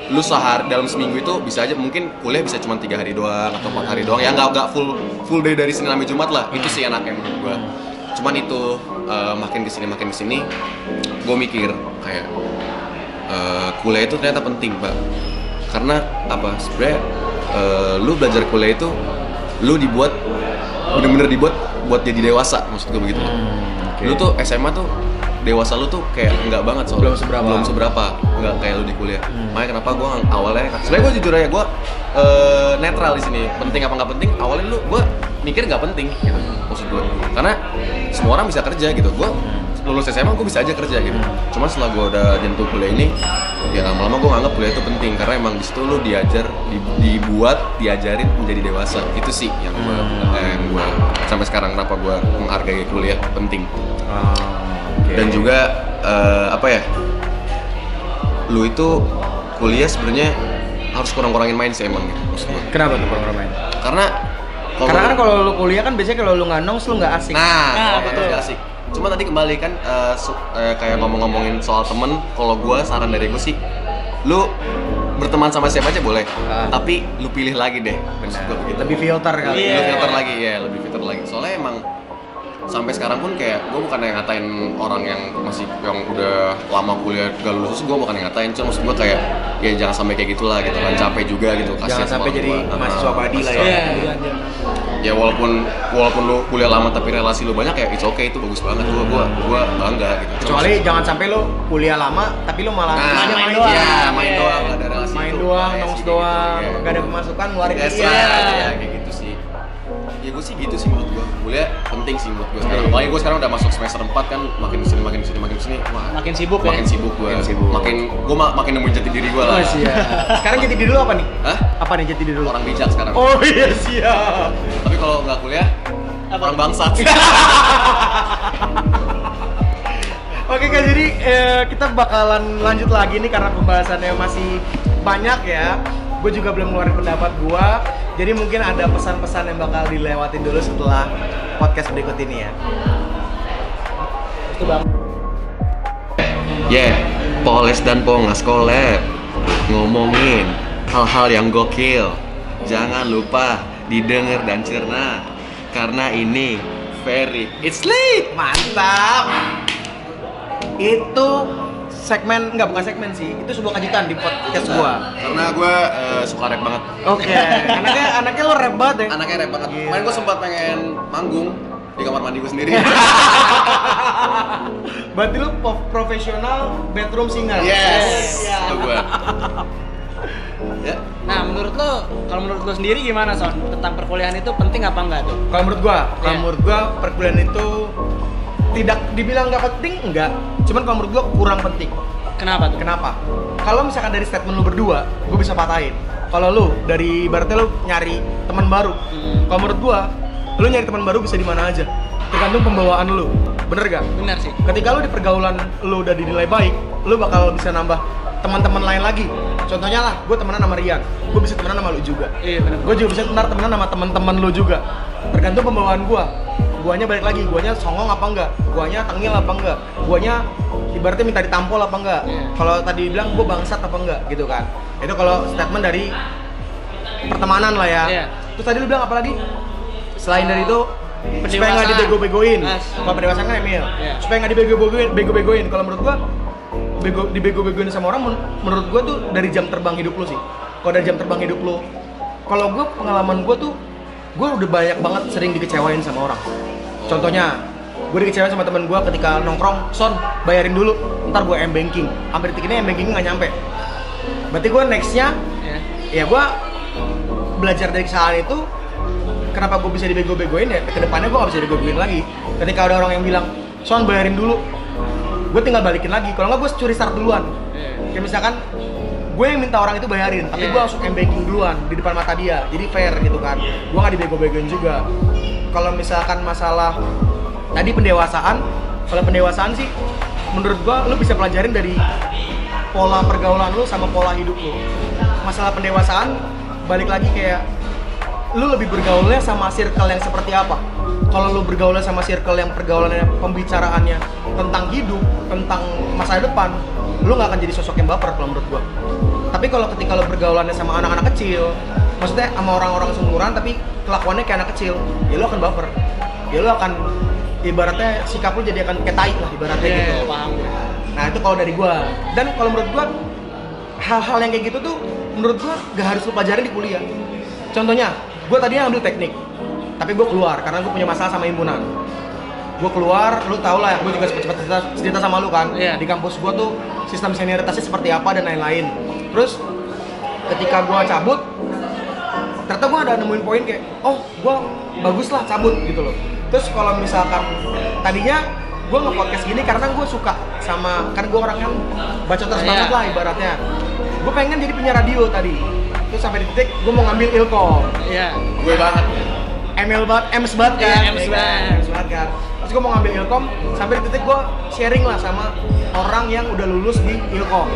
[SPEAKER 2] lu sehari dalam seminggu itu bisa aja mungkin kuliah bisa cuma tiga hari doang atau empat hari doang ya nggak nggak full full day dari senin sampai jumat lah itu sih enaknya menurut gue cuman itu eh, makin kesini makin kesini gue mikir kayak Eh, kuliah itu ternyata penting pak karena apa sebenarnya eh, lu belajar kuliah itu lu dibuat bener-bener dibuat buat jadi dewasa maksud gue begitu
[SPEAKER 1] Hmm.
[SPEAKER 2] lu tuh SMA tuh dewasa lu tuh kayak enggak banget soalnya
[SPEAKER 1] Belum seberapa.
[SPEAKER 2] belum seberapa enggak kayak lu di kuliah
[SPEAKER 1] Hmm.
[SPEAKER 2] makanya kenapa gue awalnya sebenarnya gue jujur aja gue netral di sini penting apa nggak penting awalnya lu gue mikir nggak penting gitu maksud gue karena semua orang bisa kerja gitu gue lulus SMA gue bisa aja kerja gitu
[SPEAKER 1] Hmm.
[SPEAKER 2] cuma setelah gue udah jentuh kuliah ini ya lama-lama gue nganggap kuliah itu penting karena emang di situ lu diajar di- dibuat diajarin menjadi dewasa itu sih yang gue
[SPEAKER 1] Hmm.
[SPEAKER 2] yang gue sampai sekarang kenapa gue menghargai kuliah penting
[SPEAKER 1] Ah, oke.
[SPEAKER 2] dan juga eh, apa ya lu itu kuliah sebenarnya harus kurang-kurangin main sih emang gitu maksud gua.
[SPEAKER 1] kenapa tuh program main?
[SPEAKER 2] karena
[SPEAKER 1] Karena kan kalau lu kuliah kan biasanya kalau lu nggak nongs lu nggak asik.
[SPEAKER 2] nah,
[SPEAKER 3] Nah,
[SPEAKER 2] kalau betul
[SPEAKER 3] betul.
[SPEAKER 2] nggak asik cuma tadi kembali kan eh, su- eh, kayak ngomong-ngomongin soal temen kalau gua saran dari gua sih lu berteman sama siapa aja boleh
[SPEAKER 1] Ah.
[SPEAKER 2] tapi lu pilih lagi deh maksud gua begitu
[SPEAKER 1] lebih filter kali.
[SPEAKER 3] Iya.
[SPEAKER 2] lebih filter lagi ya lebih filter lagi soalnya emang sampai sekarang pun kayak gue bukan yang ngatain orang yang masih yang udah lama kuliah gak lulus gue bukan yang ngatain cuma maksud gue kayak ya jangan sampai kayak gitulah gitu kan capek juga gitu
[SPEAKER 1] Jangan
[SPEAKER 2] sama
[SPEAKER 1] sampai
[SPEAKER 2] orang
[SPEAKER 1] jadi
[SPEAKER 2] tua.
[SPEAKER 1] mahasiswa
[SPEAKER 2] Ah,
[SPEAKER 1] padi lah
[SPEAKER 2] mahasiswa
[SPEAKER 3] Iya,
[SPEAKER 1] ya.
[SPEAKER 2] padi. ya walaupun walaupun lu kuliah lama tapi relasi lu banyak ya it's okay itu bagus banget gue gua gua bangga gitu Cuma
[SPEAKER 1] Kecuali jangan sampai lu kuliah lama tapi lu malah
[SPEAKER 2] Nah,
[SPEAKER 1] kerjanya
[SPEAKER 3] main doang.
[SPEAKER 2] Iya, main doang, nggak ada relasi.
[SPEAKER 1] Main
[SPEAKER 2] itu.
[SPEAKER 1] doang,
[SPEAKER 2] Kayak
[SPEAKER 1] nongs
[SPEAKER 2] sih,
[SPEAKER 1] doang,
[SPEAKER 2] gitu, iya.
[SPEAKER 1] nggak ada pemasukan ngeluarin
[SPEAKER 2] That's
[SPEAKER 1] iya.
[SPEAKER 2] right, ya, kayak gitu sih. Ya gue sih gitu sih menurut gue. Kuliah penting sih menurut gue sekarang. Apalagi gue sekarang udah masuk semester 4 kan, makin sini makin sini makin sini. Wah,
[SPEAKER 3] Makin sibuk ya?
[SPEAKER 2] makin sibuk gue.
[SPEAKER 1] Makin sibuk.
[SPEAKER 2] Makin gue makin nemuin jati diri gue
[SPEAKER 1] Oh,
[SPEAKER 2] lah.
[SPEAKER 1] siap. Sekarang jadi diri lu apa nih?
[SPEAKER 2] Hah?
[SPEAKER 1] Apa nih jadi diri lu?
[SPEAKER 2] Orang bijak sekarang.
[SPEAKER 1] Oh iya siap.
[SPEAKER 2] Tapi kalau nggak kuliah,
[SPEAKER 3] Apa?
[SPEAKER 2] orang bangsat.
[SPEAKER 1] Oke kak, jadi eh, kita bakalan lanjut lagi nih karena pembahasannya masih banyak ya. Gue juga belum ngeluarin pendapat gue. Jadi mungkin ada pesan-pesan yang bakal dilewatin dulu setelah podcast berikut ini ya. Itu bang.
[SPEAKER 2] Yeah, Ya, Poles dan Pongas collab ngomongin hal-hal yang gokil. Jangan lupa didengar dan cerna karena ini very it's late.
[SPEAKER 1] Mantap. itu segmen nggak bukan segmen sih itu sebuah kejutan di podcast gua
[SPEAKER 2] Karena gue eh, suka rap banget.
[SPEAKER 1] oke anaknya anaknya lo rap banget ya
[SPEAKER 2] Anaknya rap banget. Kemarin gue sempat pengen manggung di kamar mandi gue sendiri.
[SPEAKER 1] berarti lo po- profesional bedroom singer
[SPEAKER 2] yes.
[SPEAKER 3] Yes.
[SPEAKER 2] Itu gue. Ya.
[SPEAKER 3] Nah, menurut lo, kalau menurut lo sendiri gimana, Son? Tentang perkuliahan itu penting apa enggak tuh?
[SPEAKER 1] kalau menurut gua kalau
[SPEAKER 3] Iya.
[SPEAKER 1] menurut gua perkuliahan itu tidak dibilang nggak penting enggak cuman kalau menurut gua kurang penting
[SPEAKER 3] Kenapa tuh?
[SPEAKER 1] Kenapa? Kalau misalkan dari statement lu berdua, gue bisa patahin. Kalau lu dari ibaratnya lu nyari teman baru,
[SPEAKER 3] Hmm.
[SPEAKER 1] kalau menurut gua, lu nyari teman baru bisa di mana aja. Tergantung pembawaan lu. Bener gak?
[SPEAKER 3] Benar sih.
[SPEAKER 1] Ketika lu di pergaulan lu udah dinilai baik, lu bakal bisa nambah teman-teman lain lagi. Contohnya lah, gue temenan sama Rian, gue bisa temenan sama lu juga.
[SPEAKER 3] Iya, benar.
[SPEAKER 1] Gue juga bisa ntar temenan sama teman-teman lu juga. Tergantung pembawaan gua. Guanya balik lagi, guanya songong apa enggak? Guanya tengil apa enggak? Guanya ibaratnya minta ditampol apa enggak?
[SPEAKER 3] Iya.
[SPEAKER 1] Kalau tadi bilang gua bangsat apa enggak gitu kan. Itu kalau statement dari pertemanan lah ya.
[SPEAKER 3] Iya.
[SPEAKER 1] Terus tadi lu bilang apa lagi? Selain dari itu supaya nggak
[SPEAKER 3] Pendewasaan.
[SPEAKER 1] dibego-begoin.
[SPEAKER 3] As.
[SPEAKER 1] Kalau pendewasaan kan Emil.
[SPEAKER 3] Iya.
[SPEAKER 1] Supaya nggak dibego-begoin, bego-begoin. Kalau menurut gua bego dibego-begoin sama orang men- menurut gua tuh dari jam terbang hidup lu sih. Kalau dari jam terbang hidup lu. Kalau gua pengalaman gua tuh gua udah banyak banget sering dikecewain sama orang. Contohnya gue dikecewain sama temen gua ketika nongkrong, son bayarin dulu, ntar gue m banking. Hampir detik ini m banking nggak nyampe. Berarti gua nextnya ya
[SPEAKER 3] Iya.
[SPEAKER 1] gua belajar dari kesalahan itu kenapa gue bisa dibego-begoin ya kedepannya gue gak bisa dibego-begoin lagi ketika ada orang yang bilang son bayarin dulu gue tinggal balikin lagi kalau nggak gue curi start duluan
[SPEAKER 3] Iya.
[SPEAKER 1] kayak misalkan gue yang minta orang itu bayarin tapi
[SPEAKER 3] Iya.
[SPEAKER 1] gue langsung banking duluan di depan mata dia jadi fair gitu kan gue nggak dibego-begoin juga kalau misalkan masalah tadi pendewasaan kalau pendewasaan sih menurut gue lu bisa pelajarin dari pola pergaulan lu sama pola hidup lu masalah pendewasaan balik lagi kayak lu lebih bergaulnya sama circle yang seperti apa kalau lu bergaulnya sama circle yang pergaulannya pembicaraannya tentang hidup tentang masa depan lu nggak akan jadi sosok yang baper kalau menurut gua tapi kalau ketika lu bergaulannya sama anak-anak kecil maksudnya sama orang-orang seumuran tapi kelakuannya kayak anak kecil ya lu akan baper ya lu akan ibaratnya sikap lu jadi akan kayak tai lah ibaratnya
[SPEAKER 3] Iya,
[SPEAKER 1] gitu
[SPEAKER 3] paham gue.
[SPEAKER 1] Nah itu kalau dari gua. Dan kalau menurut gua hal-hal yang kayak gitu tuh menurut gua gak harus lu pelajarin di kuliah. Contohnya, gua tadinya ambil teknik, tapi gua keluar karena gua punya masalah sama himpunan. Gua keluar, lu tau lah, gua juga cepet-cepet cerita, cerita sama lu kan.
[SPEAKER 3] Iya.
[SPEAKER 1] Di kampus gua tuh sistem senioritasnya seperti apa dan lain-lain. Terus ketika gua cabut, ternyata gue ada nemuin poin kayak oh gue bagus lah cabut gitu loh terus kalau misalkan tadinya gue nge-podcast gini karena gue suka sama kan gue orang yang baca terus
[SPEAKER 3] Iya.
[SPEAKER 1] banget lah ibaratnya gue pengen jadi penyiar radio tadi terus sampai di titik gue mau ngambil ilkom
[SPEAKER 3] Iya.
[SPEAKER 2] Gue banget.
[SPEAKER 1] ML banget, Ms banget kan
[SPEAKER 3] Iya,
[SPEAKER 1] ya
[SPEAKER 3] Ms
[SPEAKER 1] kan?
[SPEAKER 3] banget.
[SPEAKER 1] Ms banget kan terus gue mau ngambil ilkom sampai di titik gue sharing lah sama orang yang udah lulus di ilkom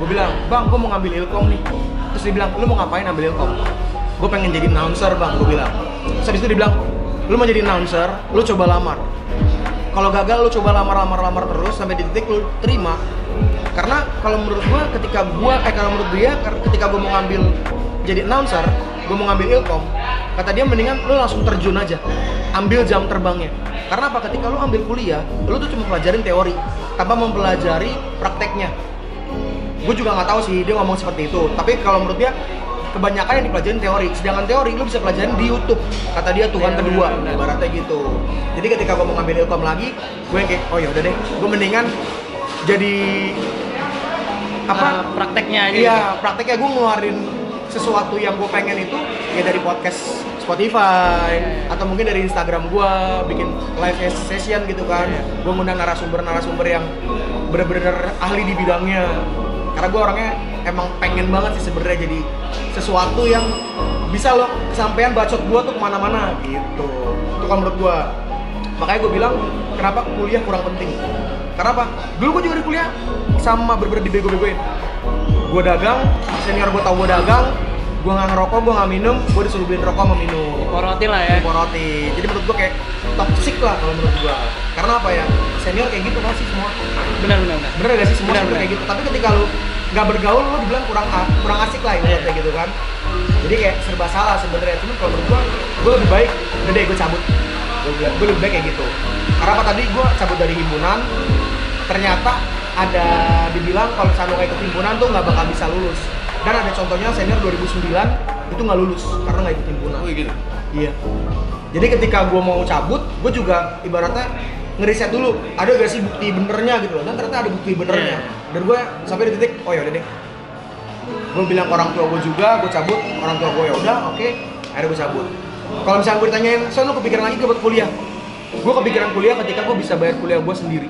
[SPEAKER 1] gue bilang bang gue mau ngambil ilkom nih terus dia bilang lu mau ngapain ambil ilkom gue pengen jadi announcer bang gue bilang terus habis itu dia bilang lu mau jadi announcer lu coba lamar kalau gagal lu coba lamar lamar lamar terus sampai di titik lu terima karena kalau menurut gua ketika gua eh kalau menurut dia kar- ketika gua mau ngambil jadi announcer gua mau ngambil ilkom kata dia mendingan lu langsung terjun aja ambil jam terbangnya karena apa ketika lu ambil kuliah lu tuh cuma pelajarin teori tanpa mempelajari prakteknya gue juga nggak tahu sih dia ngomong seperti itu tapi kalau menurut dia kebanyakan yang dipelajarin teori sedangkan teori lu bisa pelajarin di YouTube kata dia Tuhan
[SPEAKER 3] Iya,
[SPEAKER 1] kedua
[SPEAKER 3] benar-benar.
[SPEAKER 1] ibaratnya gitu jadi ketika gue mau ngambil ilkom lagi gue yang kayak oh ya udah deh gue mendingan jadi apa
[SPEAKER 3] Eh, prakteknya aja. gitu.
[SPEAKER 1] Iya, prakteknya gue ngeluarin sesuatu yang gue pengen itu ya dari podcast Spotify atau mungkin dari Instagram gue bikin live session gitu kan. Gue ngundang narasumber-narasumber yang bener-bener ahli di bidangnya. Karena gue orangnya emang pengen banget sih sebenarnya jadi sesuatu yang bisa lo kesampaian bacot gue tuh kemana-mana gitu. Itu kan menurut gue. Makanya gue bilang kenapa kuliah kurang penting. Karena apa? Dulu gue juga di kuliah sama bener-bener dibego-begoin gue dagang senior gue tau gue dagang gue nggak ngerokok gue nggak minum gue disuruh beliin rokok sama minum
[SPEAKER 3] Poroti lah ya.
[SPEAKER 1] Iya. poroti jadi menurut gue kayak toxic lah kalau menurut gue karena apa ya senior kayak gitu kan sih semua
[SPEAKER 3] Benar benar benar.
[SPEAKER 1] bener gak sih semua
[SPEAKER 3] Bener,
[SPEAKER 1] senior
[SPEAKER 3] bener.
[SPEAKER 1] kayak gitu tapi ketika lu nggak bergaul lu dibilang kurang a- kurang asik lah ibaratnya
[SPEAKER 3] Iya.
[SPEAKER 1] gitu kan jadi kayak serba salah sebenarnya cuma kalau menurut gue gue lebih baik udah deh gue cabut gue lebih baik kayak gitu karena apa tadi gue cabut dari himpunan ternyata ada dibilang kalau misalnya lo kayak ketimpunan tuh nggak bakal bisa lulus dan ada contohnya senior 2009 itu nggak lulus karena nggak ikut himpunan
[SPEAKER 2] Oh gitu.
[SPEAKER 1] iya jadi ketika gue mau cabut gue juga ibaratnya ngeriset dulu ada gak sih bukti benernya gitu loh dan ternyata ada bukti benernya
[SPEAKER 3] Iya.
[SPEAKER 1] dan gue sampai di titik oh yaudah deh gue bilang ke orang tua gue juga gue cabut orang tua gue ya udah oke akhirnya gue cabut kalau misalnya gue ditanyain so lu kepikiran lagi ke buat kuliah gue kepikiran kuliah ketika gue bisa bayar kuliah gue sendiri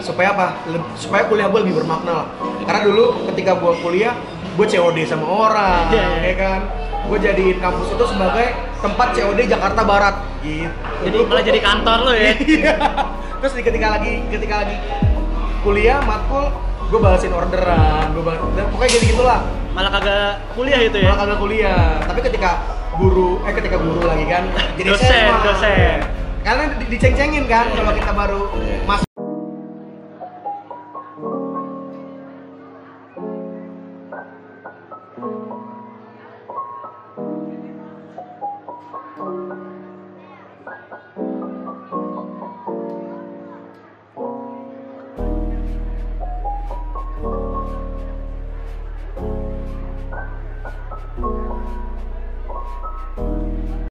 [SPEAKER 1] supaya apa Leb- supaya kuliah gue lebih bermakna lah karena dulu ketika gue kuliah gue COD sama orang
[SPEAKER 3] Iya, iya.
[SPEAKER 1] ya kan gue jadiin kampus itu sebagai tempat COD Jakarta Barat gitu
[SPEAKER 3] Jadi malah jadi kantor lo ya.
[SPEAKER 1] Iya. Terus di ketika lagi ketika lagi kuliah matkul gue balasin orderan, gue bal- dan pokoknya jadi gitulah.
[SPEAKER 3] Malah kagak kuliah itu ya.
[SPEAKER 1] Malah kagak kuliah. Tapi ketika guru eh ketika guru lagi kan
[SPEAKER 3] Dosen,
[SPEAKER 1] sesma.
[SPEAKER 3] dosen. Iya.
[SPEAKER 1] Karena di- diceng-cengin kan kalau kita baru masuk